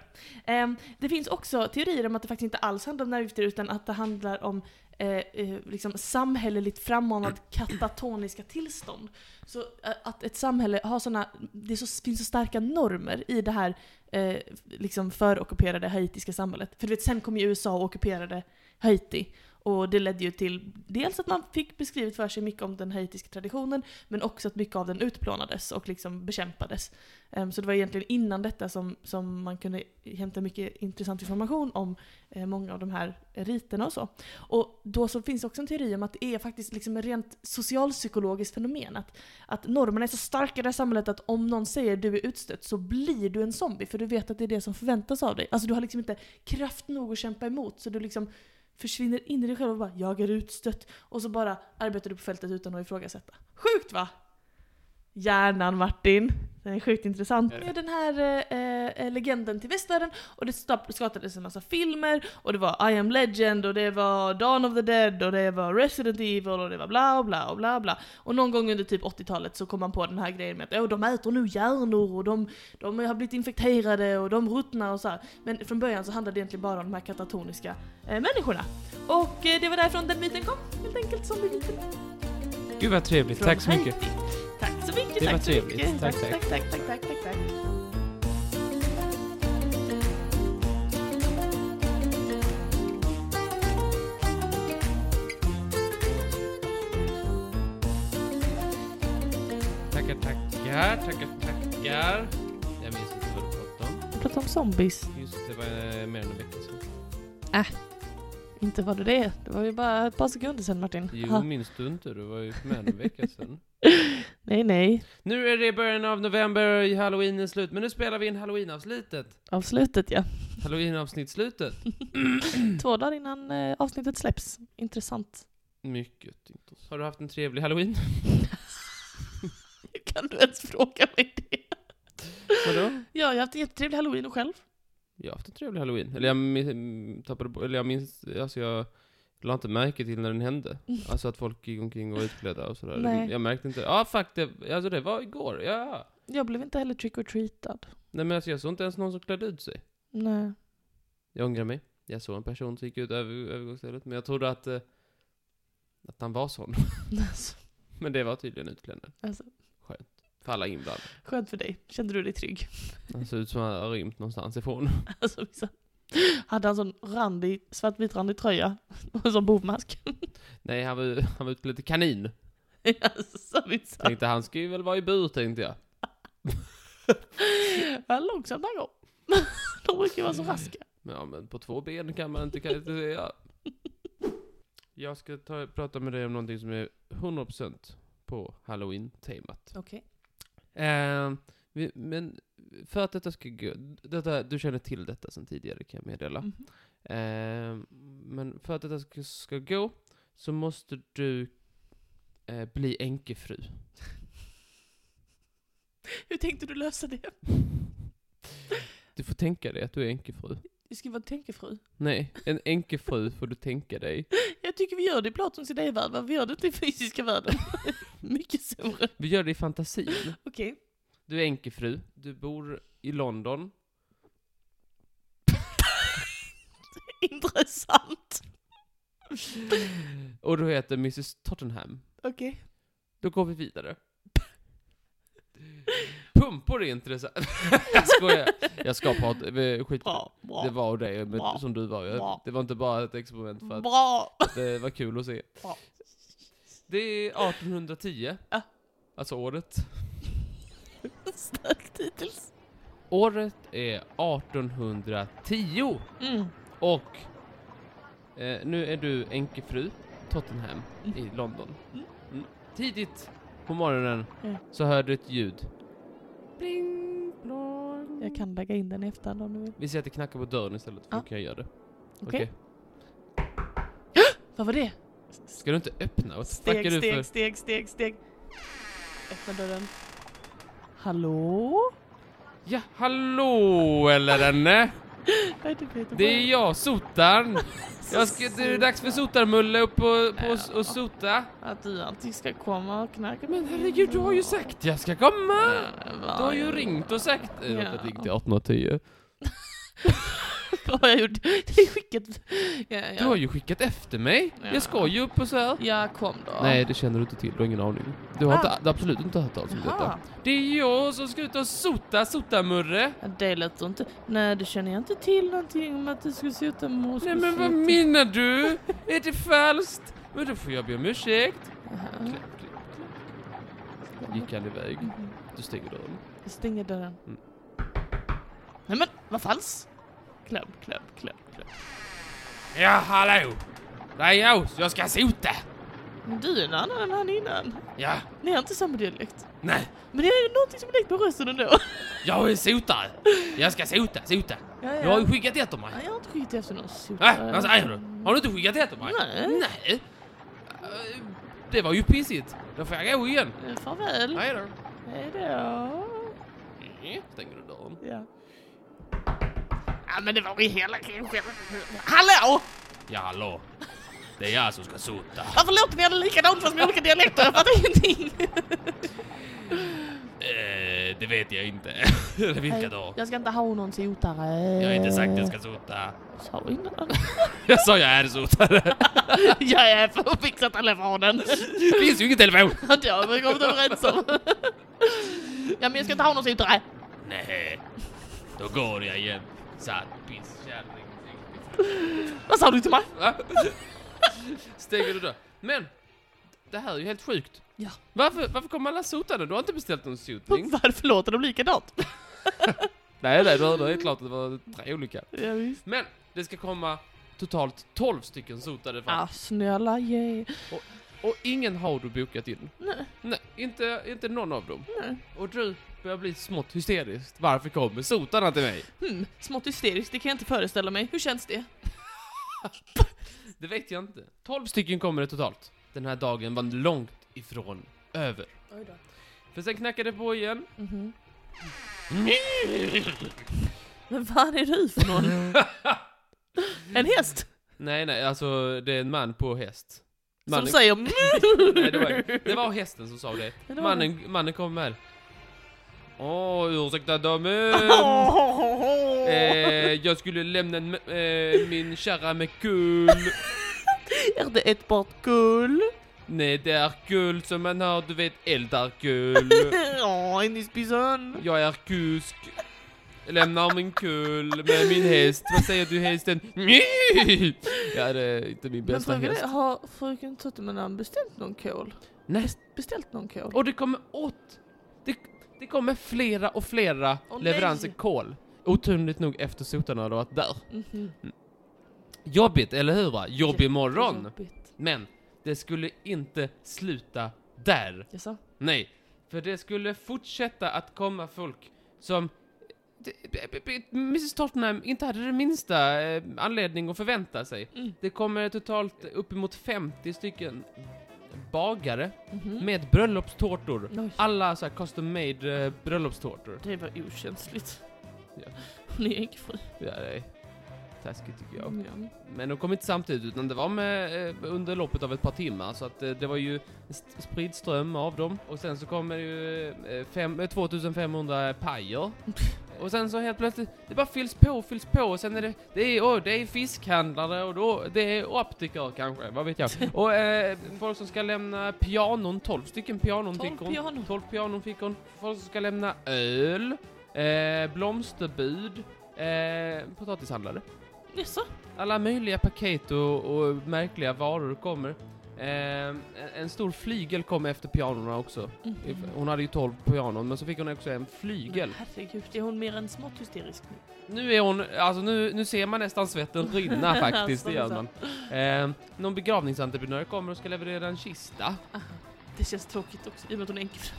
Speaker 1: Ehm, det finns också teorier om att det faktiskt inte alls handlar om nervgifter utan att det handlar om eh, eh, liksom samhälleligt frammanad katatoniska tillstånd. Så eh, att ett samhälle har såna, det är så, finns så starka normer i det här eh, liksom förockuperade haitiska samhället. För du vet, sen kom ju USA och ockuperade Haiti. Och det ledde ju till dels att man fick beskrivet för sig mycket om den haitiska traditionen, men också att mycket av den utplånades och liksom bekämpades. Ehm, Så det var egentligen innan detta som, som man kunde hämta mycket intressant information om eh, många av de här riterna och så. Och då så finns också en teori om att det är faktiskt liksom ett rent socialpsykologiskt fenomen. Att, att normerna är så starka i det här samhället att om någon säger du är utstött så blir du en zombie för du vet att det är det som förväntas av dig. Alltså du har liksom inte kraft nog att kämpa emot så du liksom försvinner in i dig själv och bara jag är utstött och så bara arbetar du på fältet utan att ifrågasätta. Sjukt va? Hjärnan Martin! Den är sjukt intressant.
Speaker 2: Är det?
Speaker 1: Med den här eh, eh, legenden till västvärlden och det stap- skapades en massa filmer och det var I am legend och det var Dawn of the dead och det var Resident Evil och det var bla och bla och bla och bla. Och någon gång under typ 80-talet så kom man på den här grejen med att "Åh, de äter nu hjärnor och de, de har blivit infekterade och de ruttnar och så här. Men från början så handlade det egentligen bara om de här katatoniska eh, människorna. Och eh, det var därifrån den myten kom, helt enkelt som vi vet den.
Speaker 2: Gud vad trevligt,
Speaker 1: Från
Speaker 2: tack så mycket.
Speaker 1: Haiti. Tack så mycket,
Speaker 2: Det var
Speaker 1: tack så
Speaker 2: trevligt.
Speaker 1: mycket.
Speaker 2: Tack,
Speaker 1: tack, tack, tack, tack, tack, tack.
Speaker 2: Tackar, tackar, tackar, tackar. Jag minns inte vad du pratade om.
Speaker 1: Jag pratar om zombies.
Speaker 2: Just det, det var eh, mer än en vecka sedan.
Speaker 1: Inte var det det. Det var ju bara ett par sekunder sedan Martin.
Speaker 2: Jo,
Speaker 1: Ha.
Speaker 2: minns du inte? Du var ju med en vecka sedan.
Speaker 1: Nej, nej.
Speaker 2: <laughs> Nu är det början av november och halloween är slut, men nu spelar vi in halloween-avslutet.
Speaker 1: Avslutet ja. <clears throat>
Speaker 2: Halloween-avsnittslutet.
Speaker 1: Två dagar innan eh, avsnittet släpps. Intressant.
Speaker 2: Mycket intressant. Har du haft en trevlig halloween? <laughs>
Speaker 1: Hur <laughs> kan du ens fråga mig det?
Speaker 2: Vadå?
Speaker 1: Ja, jag har haft en jättetrevlig halloween och själv.
Speaker 2: Jag har haft en trevlig halloween. Eller jag min- tappade på, eller jag minns, alltså jag la inte märke till när den hände. Alltså att folk gick omkring och var utklädda och sådär.
Speaker 1: Nej.
Speaker 2: Jag märkte inte, ja ah, fuck det, alltså det var igår, ja.
Speaker 1: Jag blev inte heller trick or treatad.
Speaker 2: Nej men alltså jag såg inte ens någon som klädde ut sig.
Speaker 1: Nej. <laughs>
Speaker 2: Jag ångrar mig. Jag såg en person som gick ut över övergångsstället, men jag trodde att, eh, att han var sån. <laughs>
Speaker 1: Alltså,
Speaker 2: men det var tydligen utklädnaden.
Speaker 1: alltså,
Speaker 2: För alla inblandade.
Speaker 1: skönt för dig. Kände du dig trygg?
Speaker 2: Han såg ut som han hade rymt någonstans ifrån. <laughs>
Speaker 1: <laughs> Alltså, vissa. Hade han sån randig, svartvit randig tröja <laughs> och en sån bovmask? <laughs>
Speaker 2: Nej, han var, han var utklädd till kanin.
Speaker 1: Alltså, vissa. <laughs>
Speaker 2: Tänkte han ska ju väl vara i bur, tänkte jag.
Speaker 1: Vad långsamt han går. <laughs> De brukar vara så raska.
Speaker 2: Men, ja, men på två ben kan man inte kan inte säga. <laughs> Jag ska ta, prata med dig om någonting som är 100% på halloween-temat.
Speaker 1: Okej.
Speaker 2: Eh, vi- men för att detta ska gå... Detta, du känner till detta sedan tidigare kan jag meddela.
Speaker 1: Mm. Mhm.
Speaker 2: Eh, men för att detta ska, ska gå så måste du eh, bli änkefru.
Speaker 1: Hur tänkte du lösa det?
Speaker 2: Du får tänka dig att du är änkefru.
Speaker 1: Du ska vara tänkefru.
Speaker 2: Nej, en änkefru får du tänka dig.
Speaker 1: Jag tycker vi gör det i Platons idévärld, men vi gör det inte i fysiska världen. <laughs> Mycket sämre.
Speaker 2: Vi gör det i fantasin.
Speaker 1: Okej.
Speaker 2: Du är änkefru, du bor i London.
Speaker 1: <laughs> Intressant.
Speaker 2: Och du heter Mrs Tottenham.
Speaker 1: Okej.
Speaker 2: Då går vi vidare. Pumpor är intressant. <laughs> jag skojar. Jag ska prata, eh, skit
Speaker 1: Bra, bra.
Speaker 2: Det var det,
Speaker 1: Bra.
Speaker 2: men, som du var. Jag,
Speaker 1: Bra.
Speaker 2: det var inte bara ett experiment för att
Speaker 1: Bra.
Speaker 2: det var kul att se.
Speaker 1: Bra.
Speaker 2: Det är 1810.
Speaker 1: Ja.
Speaker 2: Alltså året.
Speaker 1: <laughs> Starkt hittills.
Speaker 2: Året är 1810.
Speaker 1: Mm.
Speaker 2: Och eh, nu är du änkefru Tottenham i
Speaker 1: Mm.
Speaker 2: London.
Speaker 1: Mm.
Speaker 2: Mm. Tidigt på morgonen
Speaker 1: Mm.
Speaker 2: så hör du ett ljud. Bling, blong.
Speaker 1: Jag kan lägga in den i efterhand om du vill.
Speaker 2: Vi säger att det knackar på dörren istället, för
Speaker 1: Ja.
Speaker 2: då kan jag göra det.
Speaker 1: Okej. Vad var det?
Speaker 2: Ska du inte öppna? Vad fuck är
Speaker 1: Steg,
Speaker 2: du
Speaker 1: steg,
Speaker 2: för...
Speaker 1: steg, steg, steg. Öppna dörren. Hallå?
Speaker 2: Ja, hallå eller henne!
Speaker 1: Vad är det Peter?
Speaker 2: Det är jag, sotarn! Jag ska,
Speaker 1: Så
Speaker 2: det är dags för sotarmulle upp på, på
Speaker 1: Ja.
Speaker 2: och sota.
Speaker 1: Att du alltid ska komma och knacka
Speaker 2: Men herregud, du har ju sagt jag ska komma! Du har
Speaker 1: <laughs>
Speaker 2: ju ringt och sagt... Ja.
Speaker 1: Ja.
Speaker 2: Jag ringde 1810.
Speaker 1: Vad har jag gjort? <laughs> Det är skicket. Ja,
Speaker 2: Du har ju skickat efter mig.
Speaker 1: Ja.
Speaker 2: Jag ska ju upp och så här.
Speaker 1: ja kom då.
Speaker 2: Nej, det känner du inte till. Du har ingen aning. Du har
Speaker 1: Ah.
Speaker 2: inte, du har absolut inte hört talas om detta.
Speaker 1: Jaha.
Speaker 2: Det är jag som ska ut och sota, sotamurre.
Speaker 1: Ja, Det lät inte... Nej, det känner jag inte till någonting om att du skulle sitta med och
Speaker 2: Nej men vad menar du? Är det falskt? Men då får jag be om ursäkt. Klipp, klipp, klipp. Gick han iväg. Du stänger dörren.
Speaker 1: Jag stänger dörren.
Speaker 2: Mm.
Speaker 1: Nej men, vad falskt! Kläm, kläm, kläm, kläm.
Speaker 2: Ja, hallå! Det är jag, jag ska sota!
Speaker 1: Men Du är en annan än han innan.
Speaker 2: Ja,
Speaker 1: Ni har inte samma dialekt.
Speaker 2: nej,
Speaker 1: Men det är någonting som är likt på rösten ändå.
Speaker 2: jag är sotare. Jag ska sota, sota.
Speaker 1: Ja,
Speaker 2: Du har ju skickat efter mig.
Speaker 1: Nej, jag har inte skickat efter någon sota.
Speaker 2: Nej, Äh, vad säger du? Har du inte skickat det till mig?
Speaker 1: Nej.
Speaker 2: Nej. Eh, Det var ju pissigt. Då får jag gå igen.
Speaker 1: Eh, Farväl.
Speaker 2: Nej då.
Speaker 1: Hej då.
Speaker 2: Mm, Stänger du dörren?
Speaker 1: Ja. Ja men det var ju hela kanske. Hallå!
Speaker 2: Ja, hallå. Det är jag som ska sota.
Speaker 1: Varför låter ni alla likadant fast med olika dialekter? Jag fattar ingenting.
Speaker 2: Eh, det vet jag inte. <laughs> Eller vilka då?
Speaker 1: Jag ska inte ha någon sotare.
Speaker 2: Jag har inte sagt att jag ska sota.
Speaker 1: Sa innan.
Speaker 2: Jag sa jag är sotare.
Speaker 1: <laughs> jag är för att fixa telefonen.
Speaker 2: Det finns ju ingen telefon.
Speaker 1: Det har vi kommit överens om. ja men jag ska inte ha någon sotare.
Speaker 2: Nej, då går jag igen. Satt pisskärring.
Speaker 1: Vad sa du till mig?
Speaker 2: Va? <laughs> Stänger du då? Men, det här är ju helt sjukt.
Speaker 1: Ja.
Speaker 2: Varför, varför kommer alla sotande? Du har inte beställt någon sotning?
Speaker 1: Varför låter de likadant?
Speaker 2: nej, nej, du hörde helt klart att det var tre olika.
Speaker 1: Ja, visst.
Speaker 2: Men, det ska komma totalt 12 stycken sotade fram.
Speaker 1: Ah, snälla ge.
Speaker 2: Och ingen har du bokat in.
Speaker 1: Nej.
Speaker 2: Nej, inte, inte någon av dem.
Speaker 1: Nej.
Speaker 2: Och du börjar bli smått hysterisk. Varför kommer sotarna till mig?
Speaker 1: Hmm, smått hysteriskt, det kan jag inte föreställa mig. Hur känns det?
Speaker 2: Det vet jag inte. 12 stycken kommer det totalt. Den här dagen var långt ifrån över.
Speaker 1: Oj då.
Speaker 2: För sen knackade det
Speaker 1: <laughs>
Speaker 2: på igen.
Speaker 1: Mhm. Men vad är du
Speaker 2: <laughs>
Speaker 1: för någon? en häst?
Speaker 2: Nej, nej, alltså det är en man på häst.
Speaker 1: Som
Speaker 2: Mannen,
Speaker 1: säger
Speaker 2: <laughs> nej, det, var, det var hästen som sa det.
Speaker 1: <laughs> Ja, det var <laughs>
Speaker 2: Mannen, mannen kom här. Åh, ursäkta damen.
Speaker 1: <laughs>
Speaker 2: Eh, jag skulle lämna en, eh, min kära med kul.
Speaker 1: Är det ett bort gull?
Speaker 2: Nej, det är kul som man har, du vet, eldarkul.
Speaker 1: Ja, en ispison.
Speaker 2: Jag är kusk. Lämnar min kul med min häst. Vad säger du hästen? <laughs> Ja, det är inte min
Speaker 1: Men
Speaker 2: bästa
Speaker 1: frågan
Speaker 2: häst.
Speaker 1: är, har fröken Tuttimanan beställt någon kål?
Speaker 2: Nej,
Speaker 1: Beställt någon kål?
Speaker 2: och det kommer åt. Det, det kommer flera och flera
Speaker 1: Åh,
Speaker 2: leveranser
Speaker 1: nej.
Speaker 2: kol. Oturligt nog efter sotarna hade varit där.
Speaker 1: Mhm.
Speaker 2: Jobbigt, eller hur va? Jobbig morgon.
Speaker 1: Jobbigt.
Speaker 2: Men det skulle inte sluta där.
Speaker 1: Jaså?
Speaker 2: Nej, för det skulle fortsätta att komma folk som Mrs Tottenham inte hade den minsta eh, anledning att förvänta sig.
Speaker 1: Mm.
Speaker 2: Det kommer totalt uppemot 50 stycken bagare
Speaker 1: Mhm.
Speaker 2: med bröllopstårtor.
Speaker 1: Oj.
Speaker 2: Alla så här custom made eh, bröllopstårtor.
Speaker 1: Det var okänsligt.
Speaker 2: Ja.
Speaker 1: Hon är äggfri.
Speaker 2: Ja, det är taskigt tycker jag.
Speaker 1: Ja.
Speaker 2: Men de kom inte samtidigt utan det var med, eh, under loppet av ett par timmar så att eh, det var ju en st- spridd ström av dem. Och sen så kommer det ju eh, fem, eh, 2500 <laughs> pajer. Och sen så helt plötsligt, det bara fylls på, fylls på och sen är det, det är, oh, det är fiskhandlare och då, det är optiker kanske, vad vet jag. <laughs> Och eh, folk som ska lämna pianon, 12 stycken pianon
Speaker 1: Tolv
Speaker 2: fick hon.
Speaker 1: pianon.
Speaker 2: 12 pianon fick hon. Folk som ska lämna öl, eh, blomsterbud, eh, potatishandlare.
Speaker 1: Jaså?
Speaker 2: Alla möjliga paket och, och märkliga varor kommer. Eh, en- en stor flygel kom efter pianorna också.
Speaker 1: Mhm.
Speaker 2: Hon hade ju 12 pianon, men så fick hon också en flygel.
Speaker 1: Men herregud, är hon mer än smått hysterisk nu?
Speaker 2: Nu är hon, alltså nu, nu ser man nästan svetten <laughs> rinna faktiskt, det gör man. Eh, någon begravningsentreprenör kommer och ska leverera en kista.
Speaker 1: Det känns tråkigt också, i och med att hon är änkefru.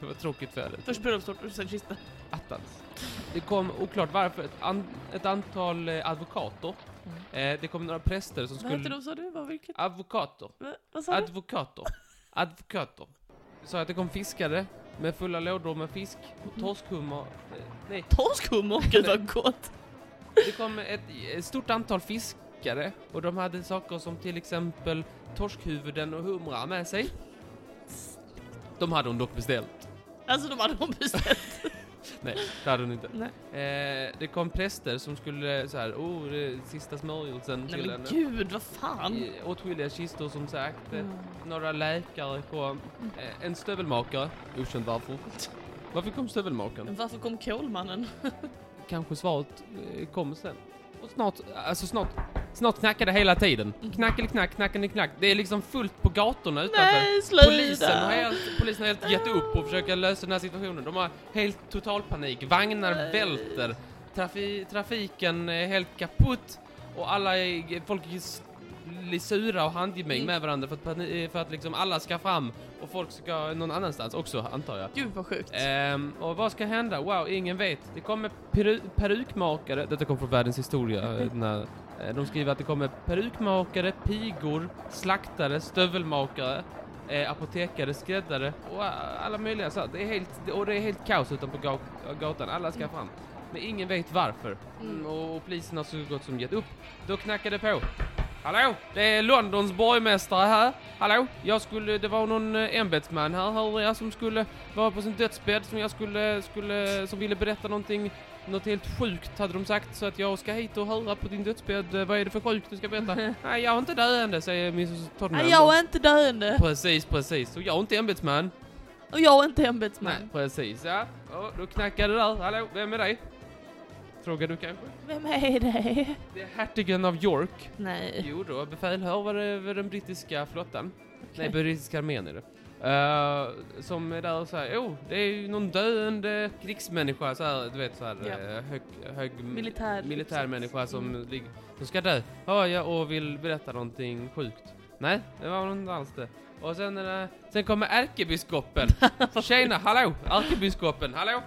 Speaker 2: Det var tråkigt för henne.
Speaker 1: Först bröllopstårta och sen kista.
Speaker 2: Attans. Det kom, oklart varför, ett, an, ett antal eh, advokater. Eh, det kom några präster som
Speaker 1: Mm. Vad hette
Speaker 2: skulle...
Speaker 1: de sa du? Vad, vilket?
Speaker 2: Advokater.
Speaker 1: Va, vad sa du?
Speaker 2: Advokater. Advokater. Sa att det kom fiskare med fulla lådor med fisk
Speaker 1: Mm.
Speaker 2: och torskhummer. Eh, Nej,
Speaker 1: Torskhummor? Gud vad gott!
Speaker 2: det kom ett, ett stort antal fiskare och de hade saker som till exempel torskhuvuden och humrar
Speaker 1: <laughs>
Speaker 2: med sig. De hade hon dock beställt.
Speaker 1: Alltså de hade hon beställt.
Speaker 2: Nej, det hade hon inte.
Speaker 1: Nej.
Speaker 2: Eh, det kom präster som skulle så här, oh, det är sista smörjelsen
Speaker 1: Nej
Speaker 2: till
Speaker 1: men
Speaker 2: henne.
Speaker 1: gud, Mm. vad fan!
Speaker 2: I Åtskilliga kistor som sagt. Eh, Några läkare kom.
Speaker 1: Mm.
Speaker 2: Eh, En stövelmakare. Okänt varför. Varför kom
Speaker 1: Men
Speaker 2: stövelmakaren?
Speaker 1: varför kom Kolmannen? Mm.
Speaker 2: Kanske svaret eh, kommer sen. Och snart, alltså snart, snart knackar det hela tiden. Knack eller knack, knack eller knack. Det är liksom fullt på gatorna utanför.
Speaker 1: Mm. Nej, sluta!
Speaker 2: Polisen har, helt, polisen har helt gett upp och försöker lösa den här situationen. De har helt total panik. Vagnar
Speaker 1: Nej.
Speaker 2: välter. Trafi, trafiken är helt kaputt. Och alla är, folk är s- blir sura och
Speaker 1: Mm.
Speaker 2: handgemäng med varandra för att, pani- för att liksom alla ska fram och folk ska någon annanstans också, antar jag.
Speaker 1: Gud vad sjukt.
Speaker 2: Ehm, och vad ska hända? Wow, ingen vet. Det kommer peru- perukmakare, detta kom från världens historia, eh, den här, eh, de skriver att det kommer perukmakare, pigor, slaktare, stövelmakare, eh, apotekare, skräddare och eh, alla möjliga så här. det är helt, det- Och det är helt kaos utanpå ga- gatan, alla ska fram. Men ingen vet varför. Mm, och, och polisen har så gott som gett upp. Då knackade det på. Hallå? Det är Londons borgmästare här. Hallå? Jag skulle, det var någon eh, ämbetsman här hörde jag som skulle vara på sin dödsbädd som jag skulle, skulle, som ville berätta någonting, något helt sjukt hade de sagt så att jag ska hit och höra på din dödsbädd. Eh, Vad är det för sjukt du
Speaker 1: <laughs>
Speaker 2: ska berätta? Nej, jag är inte döende säger Mrs Tottenham.
Speaker 1: Nej, jag är inte döende
Speaker 2: Precis, precis. Och jag är inte ämbetsman.
Speaker 1: och jag är inte ämbetsman.
Speaker 2: Precis, ja. Ja, då knackade det där. Hallå, vem är det? Frågar du kanske?
Speaker 1: Vem är det?
Speaker 2: Det är hertigen av York.
Speaker 1: Nej.
Speaker 2: Jo då, befälhavare över den brittiska flottan. Nej,
Speaker 1: Okej.
Speaker 2: brittiska armén är det. Eh, som är där och såhär, jo, det är ju någon döende krigsmänniska såhär, du vet såhär,
Speaker 1: Ja.
Speaker 2: eh, hög, hög
Speaker 1: Militär. Mm.
Speaker 2: militärmänniska som ligger, som ska dö. Ja, ja, och vill berätta någonting sjukt. Nej, det var inte alls det. Och sen är det, sen kommer
Speaker 1: <laughs>
Speaker 2: ärkebiskopen. Tjena, hallå! Ärkebiskopen, hallå!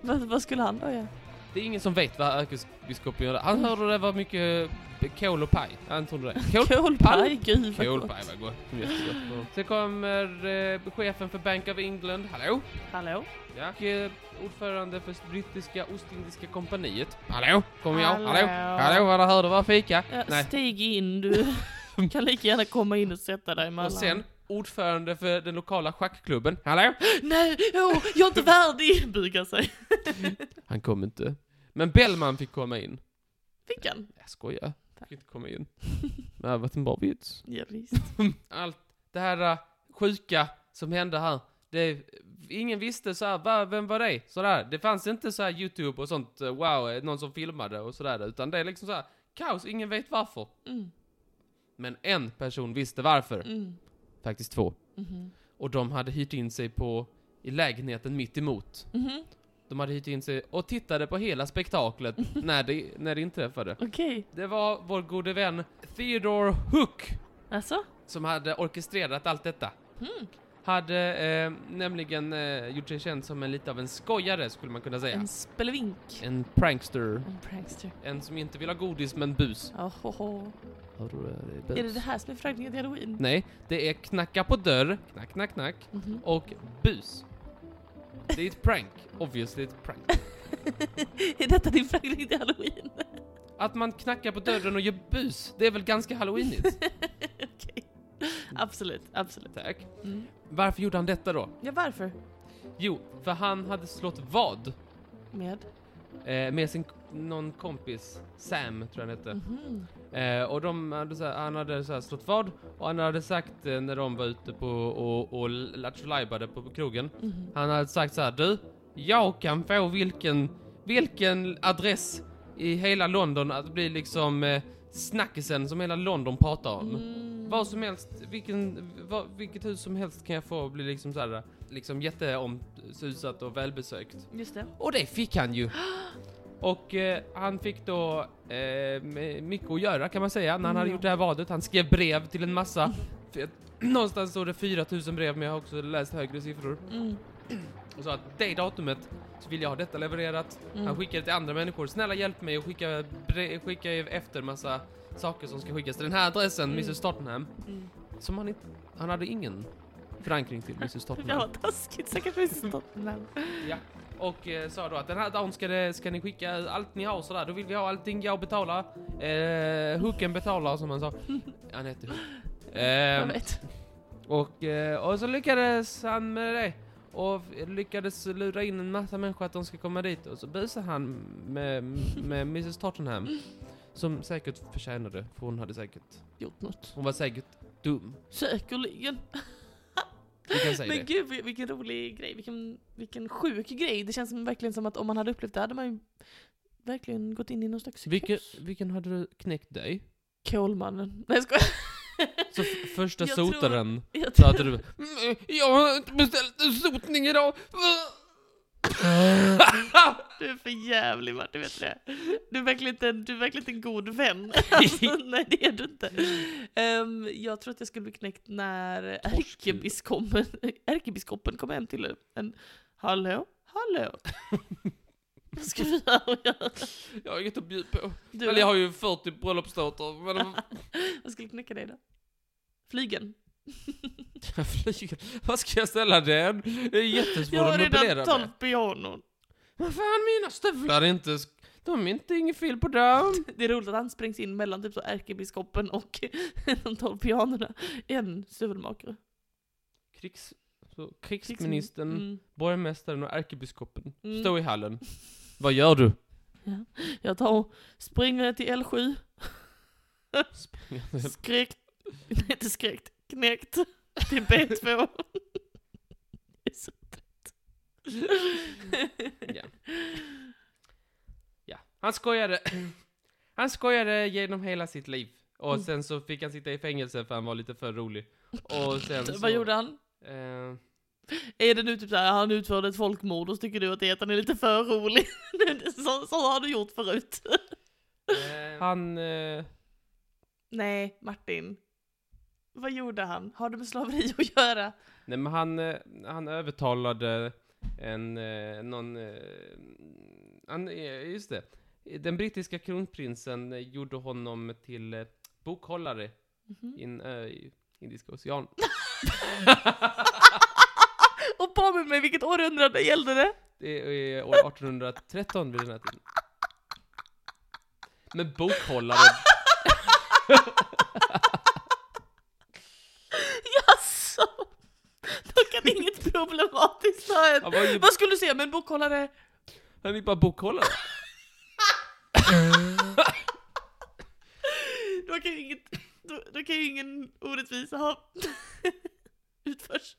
Speaker 1: Vad, vad skulle han då göra?
Speaker 2: Det är ingen som vet vad ärkebiskopen gör. Han hörde det var mycket eh, kol och paj. Han trodde det. Kol
Speaker 1: Kolpaj? Gud vad gott.
Speaker 2: Kolpaj var gott. Jättegott. Sen kommer eh, chefen för Bank of England, hallå?
Speaker 1: Hallå?
Speaker 2: Ja. Och eh, ordförande för brittiska Ostindiska kompaniet. Hallå? Kommer jag? Hallå? Hallå,
Speaker 1: Hallå.
Speaker 2: var det här det var fika?
Speaker 1: Ja,
Speaker 2: Nej.
Speaker 1: Stig in
Speaker 2: <laughs>
Speaker 1: du. kan lika gärna komma in och sätta dig emellan.
Speaker 2: Och sen ordförande för den lokala schackklubben. Hallå?
Speaker 1: Nej, åh, jag är inte värdig! Bugar sig.
Speaker 2: Han kom inte. Men Bellman fick komma in.
Speaker 1: Fick han?
Speaker 2: Jag skojar.
Speaker 1: Tack.
Speaker 2: Fick inte komma in. Men det hade varit en bra vits.
Speaker 1: Ja, visst.
Speaker 2: allt det här äh, sjuka som hände här. Det, ingen visste så här, va, vem var det? Sådär. Det fanns inte så här YouTube och sånt, eh, wow, eh, någon som filmade och sådär. Utan det är liksom så här, kaos, ingen vet varför.
Speaker 1: Mm,
Speaker 2: Men en person visste varför.
Speaker 1: mm,
Speaker 2: Faktiskt två.
Speaker 1: mhm.
Speaker 2: Och de hade hyrt in sig på, i lägenheten mitt emot.
Speaker 1: Mhm,
Speaker 2: De hade hyrt in sig och tittade på
Speaker 1: <laughs>
Speaker 2: hela spektaklet när det, när det inträffade.
Speaker 1: Okej,
Speaker 2: Det var vår gode vän Theodore Hook
Speaker 1: alltså?
Speaker 2: som hade orkestrerat allt detta.
Speaker 1: Mm.
Speaker 2: Hade eh, nämligen eh, gjort sig känd som en lite av en skojare skulle man kunna säga.
Speaker 1: En spelvink.
Speaker 2: En prankster.
Speaker 1: En prankster.
Speaker 2: En som inte vill ha godis men bus.
Speaker 1: Ohoho.
Speaker 2: Har du eh, det?
Speaker 1: Är det det här som är förläggningen till halloween?
Speaker 2: Nej, det är knacka på dörr, knack, knack, knack,
Speaker 1: Mhm.
Speaker 2: och bus. Det är ett prank, obviously ett prank.
Speaker 1: <laughs> Är detta din förläggning till halloween?
Speaker 2: Att man knackar på dörren och gör bus, det är väl ganska halloweenigt?
Speaker 1: <laughs> Okej. Absolut, absolut.
Speaker 2: Tack.
Speaker 1: Mm.
Speaker 2: Varför gjorde han detta då?
Speaker 1: Ja, varför?
Speaker 2: Jo, för han hade slått vad
Speaker 1: Med?
Speaker 2: eh, med sin någon kompis, Sam tror jag han hette.
Speaker 1: Mhm.
Speaker 2: Eh, och de hade så här, han hade så här slått vad och han hade sagt eh, när de var ute på och, och lattjolajbade på krogen.
Speaker 1: Mhm.
Speaker 2: Han hade sagt så här, du, jag kan få vilken, vilken adress i hela London att bli liksom eh, snackisen som hela London pratar om.
Speaker 1: Mm.
Speaker 2: Vad som helst, vilken, vad, vilket hus som helst kan jag få bli liksom så här, liksom jätteomsusat och välbesökt.
Speaker 1: Just det.
Speaker 2: Och det fick han ju. Och eh, han fick då eh, med mycket att göra kan man säga när han hade
Speaker 1: Mm.
Speaker 2: gjort det här vadet. Han skrev brev till en massa. För att- <clears throat> Någonstans stod det 4000 brev men jag har också läst högre siffror.
Speaker 1: Mm.
Speaker 2: Och sa att det datumet så vill jag ha detta levererat.
Speaker 1: Mm.
Speaker 2: Han skickade till andra människor. Snälla hjälp mig och skicka, bre- skicka efter massa saker som ska skickas till den här adressen,
Speaker 1: Mm.
Speaker 2: Mrs Tottenham.
Speaker 1: Mm.
Speaker 2: Som han inte... Han hade ingen förankring till Mrs
Speaker 1: Ja,
Speaker 2: Tottenham.
Speaker 1: vad taskigt. Säkert visst Mm. <laughs> Men...
Speaker 2: Och eh, sa då att den här dagen ska, det, ska ni skicka allt ni har och sådär, då vill vi ha allting jag betalar. Eh, hooken betalar som
Speaker 1: <laughs>
Speaker 2: han sa. Han hette Hook.
Speaker 1: Jag
Speaker 2: Ehm,
Speaker 1: vet.
Speaker 2: och, eh, och så lyckades han med det. Och f- lyckades lura in en massa människor att de ska komma dit. Och så busade han med, med Mrs Tottenham. Som säkert förtjänade, för hon hade säkert,
Speaker 1: Gjort något.
Speaker 2: hon var säkert dum.
Speaker 1: Säkerligen.
Speaker 2: Vi kan säga
Speaker 1: Men
Speaker 2: det.
Speaker 1: gud vil- vilken rolig grej, vilken, vilken sjuk grej. Det känns som, verkligen som att om man hade upplevt det hade man ju verkligen gått in i någon slags
Speaker 2: Vilken,
Speaker 1: psykos.
Speaker 2: vilken hade du knäckt dig?
Speaker 1: Kolmannen. Nej jag skojar.
Speaker 2: Så f-
Speaker 1: <laughs>
Speaker 2: första
Speaker 1: Jag tror-
Speaker 2: sotaren.
Speaker 1: Jag
Speaker 2: Så
Speaker 1: tror-
Speaker 2: hade du "Mm, Jag har inte beställt en sotning <laughs> idag!
Speaker 1: Du är för jävlig Martin, vet du det? Du är verkligen inte, du är verkligen inte en god
Speaker 2: <laughs>
Speaker 1: vän. <laughs> Alltså, nej det är du inte. Ehm, jag tror att jag skulle bli knäckt när ärkebiskopen, ärkebiskopen kom hem till en Hallå?
Speaker 2: <laughs>
Speaker 1: Hallå? Vad ska vi här och göra?
Speaker 2: Jag har inget att bjuda på.
Speaker 1: Du, <laughs>
Speaker 2: <laughs> Eller jag har ju 40 bröllopstårtor. Men
Speaker 1: Vad skulle knäcka dig då? Flygen?
Speaker 2: Jag flyger. Vad ska jag ställa den? Det är jättesvårt
Speaker 1: Jag har
Speaker 2: att möblera
Speaker 1: redan
Speaker 2: med.
Speaker 1: tolv pianon.
Speaker 2: Vad fan, mina stövlar är inte... sk- De är inte inget fel på dem.
Speaker 1: Det är roligt att han sprängs in mellan typ så ärkebiskopen och <laughs> de tolv pianorna. En stövelmakare.
Speaker 2: Krigs... Så, krigsministern,
Speaker 1: Mm.
Speaker 2: borgmästaren och ärkebiskopen
Speaker 1: Mm.
Speaker 2: står i hallen. Vad gör <laughs> du?
Speaker 1: Jag tar och springer till L7.
Speaker 2: Springer.
Speaker 1: Skräckt. Nej, inte skräckt. Knäckt. Till B2. Det är så trött.
Speaker 2: Ja. ja. Han skojade. <clears throat> Han skojade genom hela sitt liv. Och
Speaker 1: Mm.
Speaker 2: sen så fick han sitta i fängelse för han var lite för rolig. Och sen
Speaker 1: <laughs>
Speaker 2: så...
Speaker 1: Vad gjorde han?
Speaker 2: Eh,
Speaker 1: Är det nu typ såhär, han utförde ett folkmord och så tycker du att det är att han är lite för rolig? <laughs> så, så har du gjort förut.
Speaker 2: eh, han... Eh,
Speaker 1: Nej, Martin. Vad gjorde han? Har det med slaveri att göra?
Speaker 2: nej men han, eh, han övertalade en... Eh, någon... Eh, han, eh, just det. Den brittiska kronprinsen eh, gjorde honom till eh, bokhållare
Speaker 1: Mhm.
Speaker 2: i en ö i Indiska ocean.
Speaker 1: och påminn mig, vilket århundrade gällde det?
Speaker 2: Det är år 1813 vid den här tiden. Men bokhållare,
Speaker 1: Jaså? Då kan inget problematiskt ha hänt.
Speaker 2: han var ju
Speaker 1: Vad skulle du säga med en bokhållare?
Speaker 2: han är ju bara bokhållare.
Speaker 1: Då kan ju, inget, då, då kan ju ingen orättvisa ha <laughs> utförs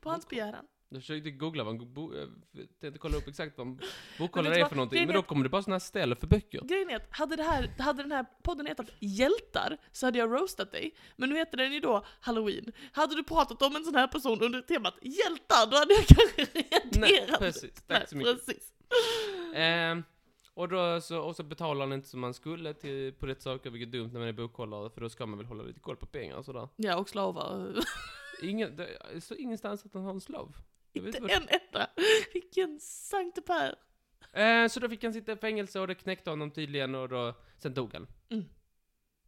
Speaker 1: på hans begäran.
Speaker 2: Jag försökte googla vad en bo, jag tänkte kolla upp exakt vad en
Speaker 1: Men
Speaker 2: bokhållare
Speaker 1: vet du
Speaker 2: är
Speaker 1: vad?
Speaker 2: för någonting,
Speaker 1: Grejen
Speaker 2: men
Speaker 1: är
Speaker 2: då kommer det bara såna här ställen för böcker.
Speaker 1: Grejen är att hade, det här, hade den här podden hetat Hjältar så hade jag roastat dig. Men nu heter den ju då Halloween. Hade du pratat om en sån här person under temat Hjältar då hade jag kanske reagerat.
Speaker 2: Nej, precis. Tack
Speaker 1: Nej,
Speaker 2: så mycket.
Speaker 1: Precis.
Speaker 2: Ehm, och, då så, och så betalade han inte som man skulle till, på rätt saker, vilket är dumt när man är bokhållare, för då ska man väl hålla lite koll på pengar och sådär.
Speaker 1: Ja, och <laughs> slavar.
Speaker 2: Ingen, det står ingenstans att han har en slav. Jag vet
Speaker 1: Inte
Speaker 2: vad-
Speaker 1: en etta. Vilken Sankte Per.
Speaker 2: Eh, så då fick han sitta i fängelse och det knäckte honom tydligen och då, sen dog han.
Speaker 1: Mm.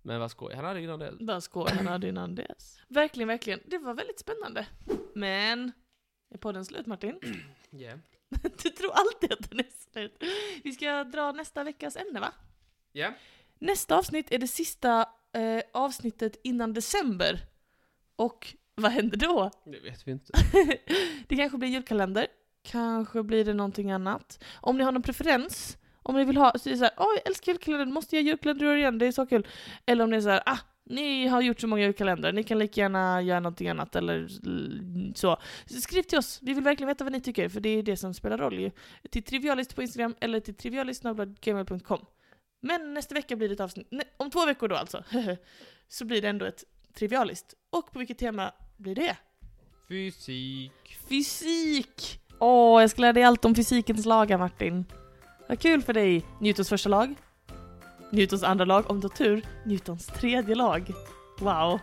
Speaker 2: Men vad skoj, han hade innan det.
Speaker 1: Där skål han hade innan dess. Verkligen, verkligen. Det var väldigt spännande. Men, är podden slut <laughs> Martin?
Speaker 2: Yeah.
Speaker 1: Du tror alltid att den är slut. Vi ska dra nästa veckas ämne va?
Speaker 2: Ja.
Speaker 1: Nästa avsnitt är det sista eh, avsnittet innan december. Och vad händer då?
Speaker 2: Det vet vi inte.
Speaker 1: det kanske blir julkalender, kanske blir det någonting annat. Om ni har någon preferens, om ni vill ha, så är det såhär, åh jag älskar julkalender, måste jag göra julkalendrar igen, det är så kul. Eller om ni är såhär, ah, ni har gjort så många julkalendrar, ni kan lika gärna göra någonting annat eller l- så. så. Skriv till oss, vi vill verkligen veta vad ni tycker, för det är det som spelar roll ju. Till trivialist på Instagram eller till trivialist.gmail.com. Men nästa vecka blir det ett avsnitt, nej, om två veckor då alltså, <laughs> så blir det ändå ett trivialist. Och på vilket tema blir det?
Speaker 2: Fysik.
Speaker 1: Fysik! Åh, jag ska lära dig allt om fysikens lagar, Martin. Vad kul för dig! Newtons första lag, Newtons andra lag, om du har tur, Newtons tredje lag. Wow!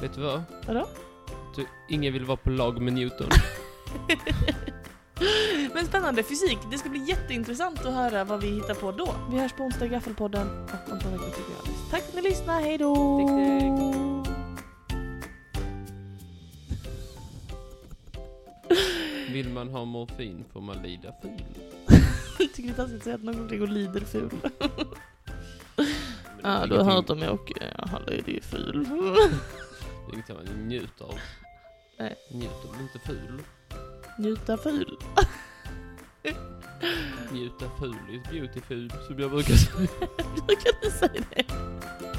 Speaker 2: Vet du vad?
Speaker 1: Vadå?
Speaker 2: Du, ingen vill vara på lag med Newton.
Speaker 1: Men spännande, fysik. Det ska bli jätteintressant att höra vad vi hittar på då. Vi hörs på onsdag i Gaffelpodden och om två veckor tycker jag. Tack för att ni lyssnade, hej då!
Speaker 2: Tack, vill man ha morfin får man lida fil.
Speaker 1: Tycker det är taskigt att säga att någon går omkring och lider ful.
Speaker 2: Men det är
Speaker 1: Ja, du har
Speaker 2: ingenting-
Speaker 1: hört om jag och eh, han lider ju ful.
Speaker 2: Det är ingenting man njuter av.
Speaker 1: Nej.
Speaker 2: Njuter men inte ful.
Speaker 1: Njuta ful.
Speaker 2: Njuta ful is beautiful, som jag brukar säga.
Speaker 1: Hur kan du säga det?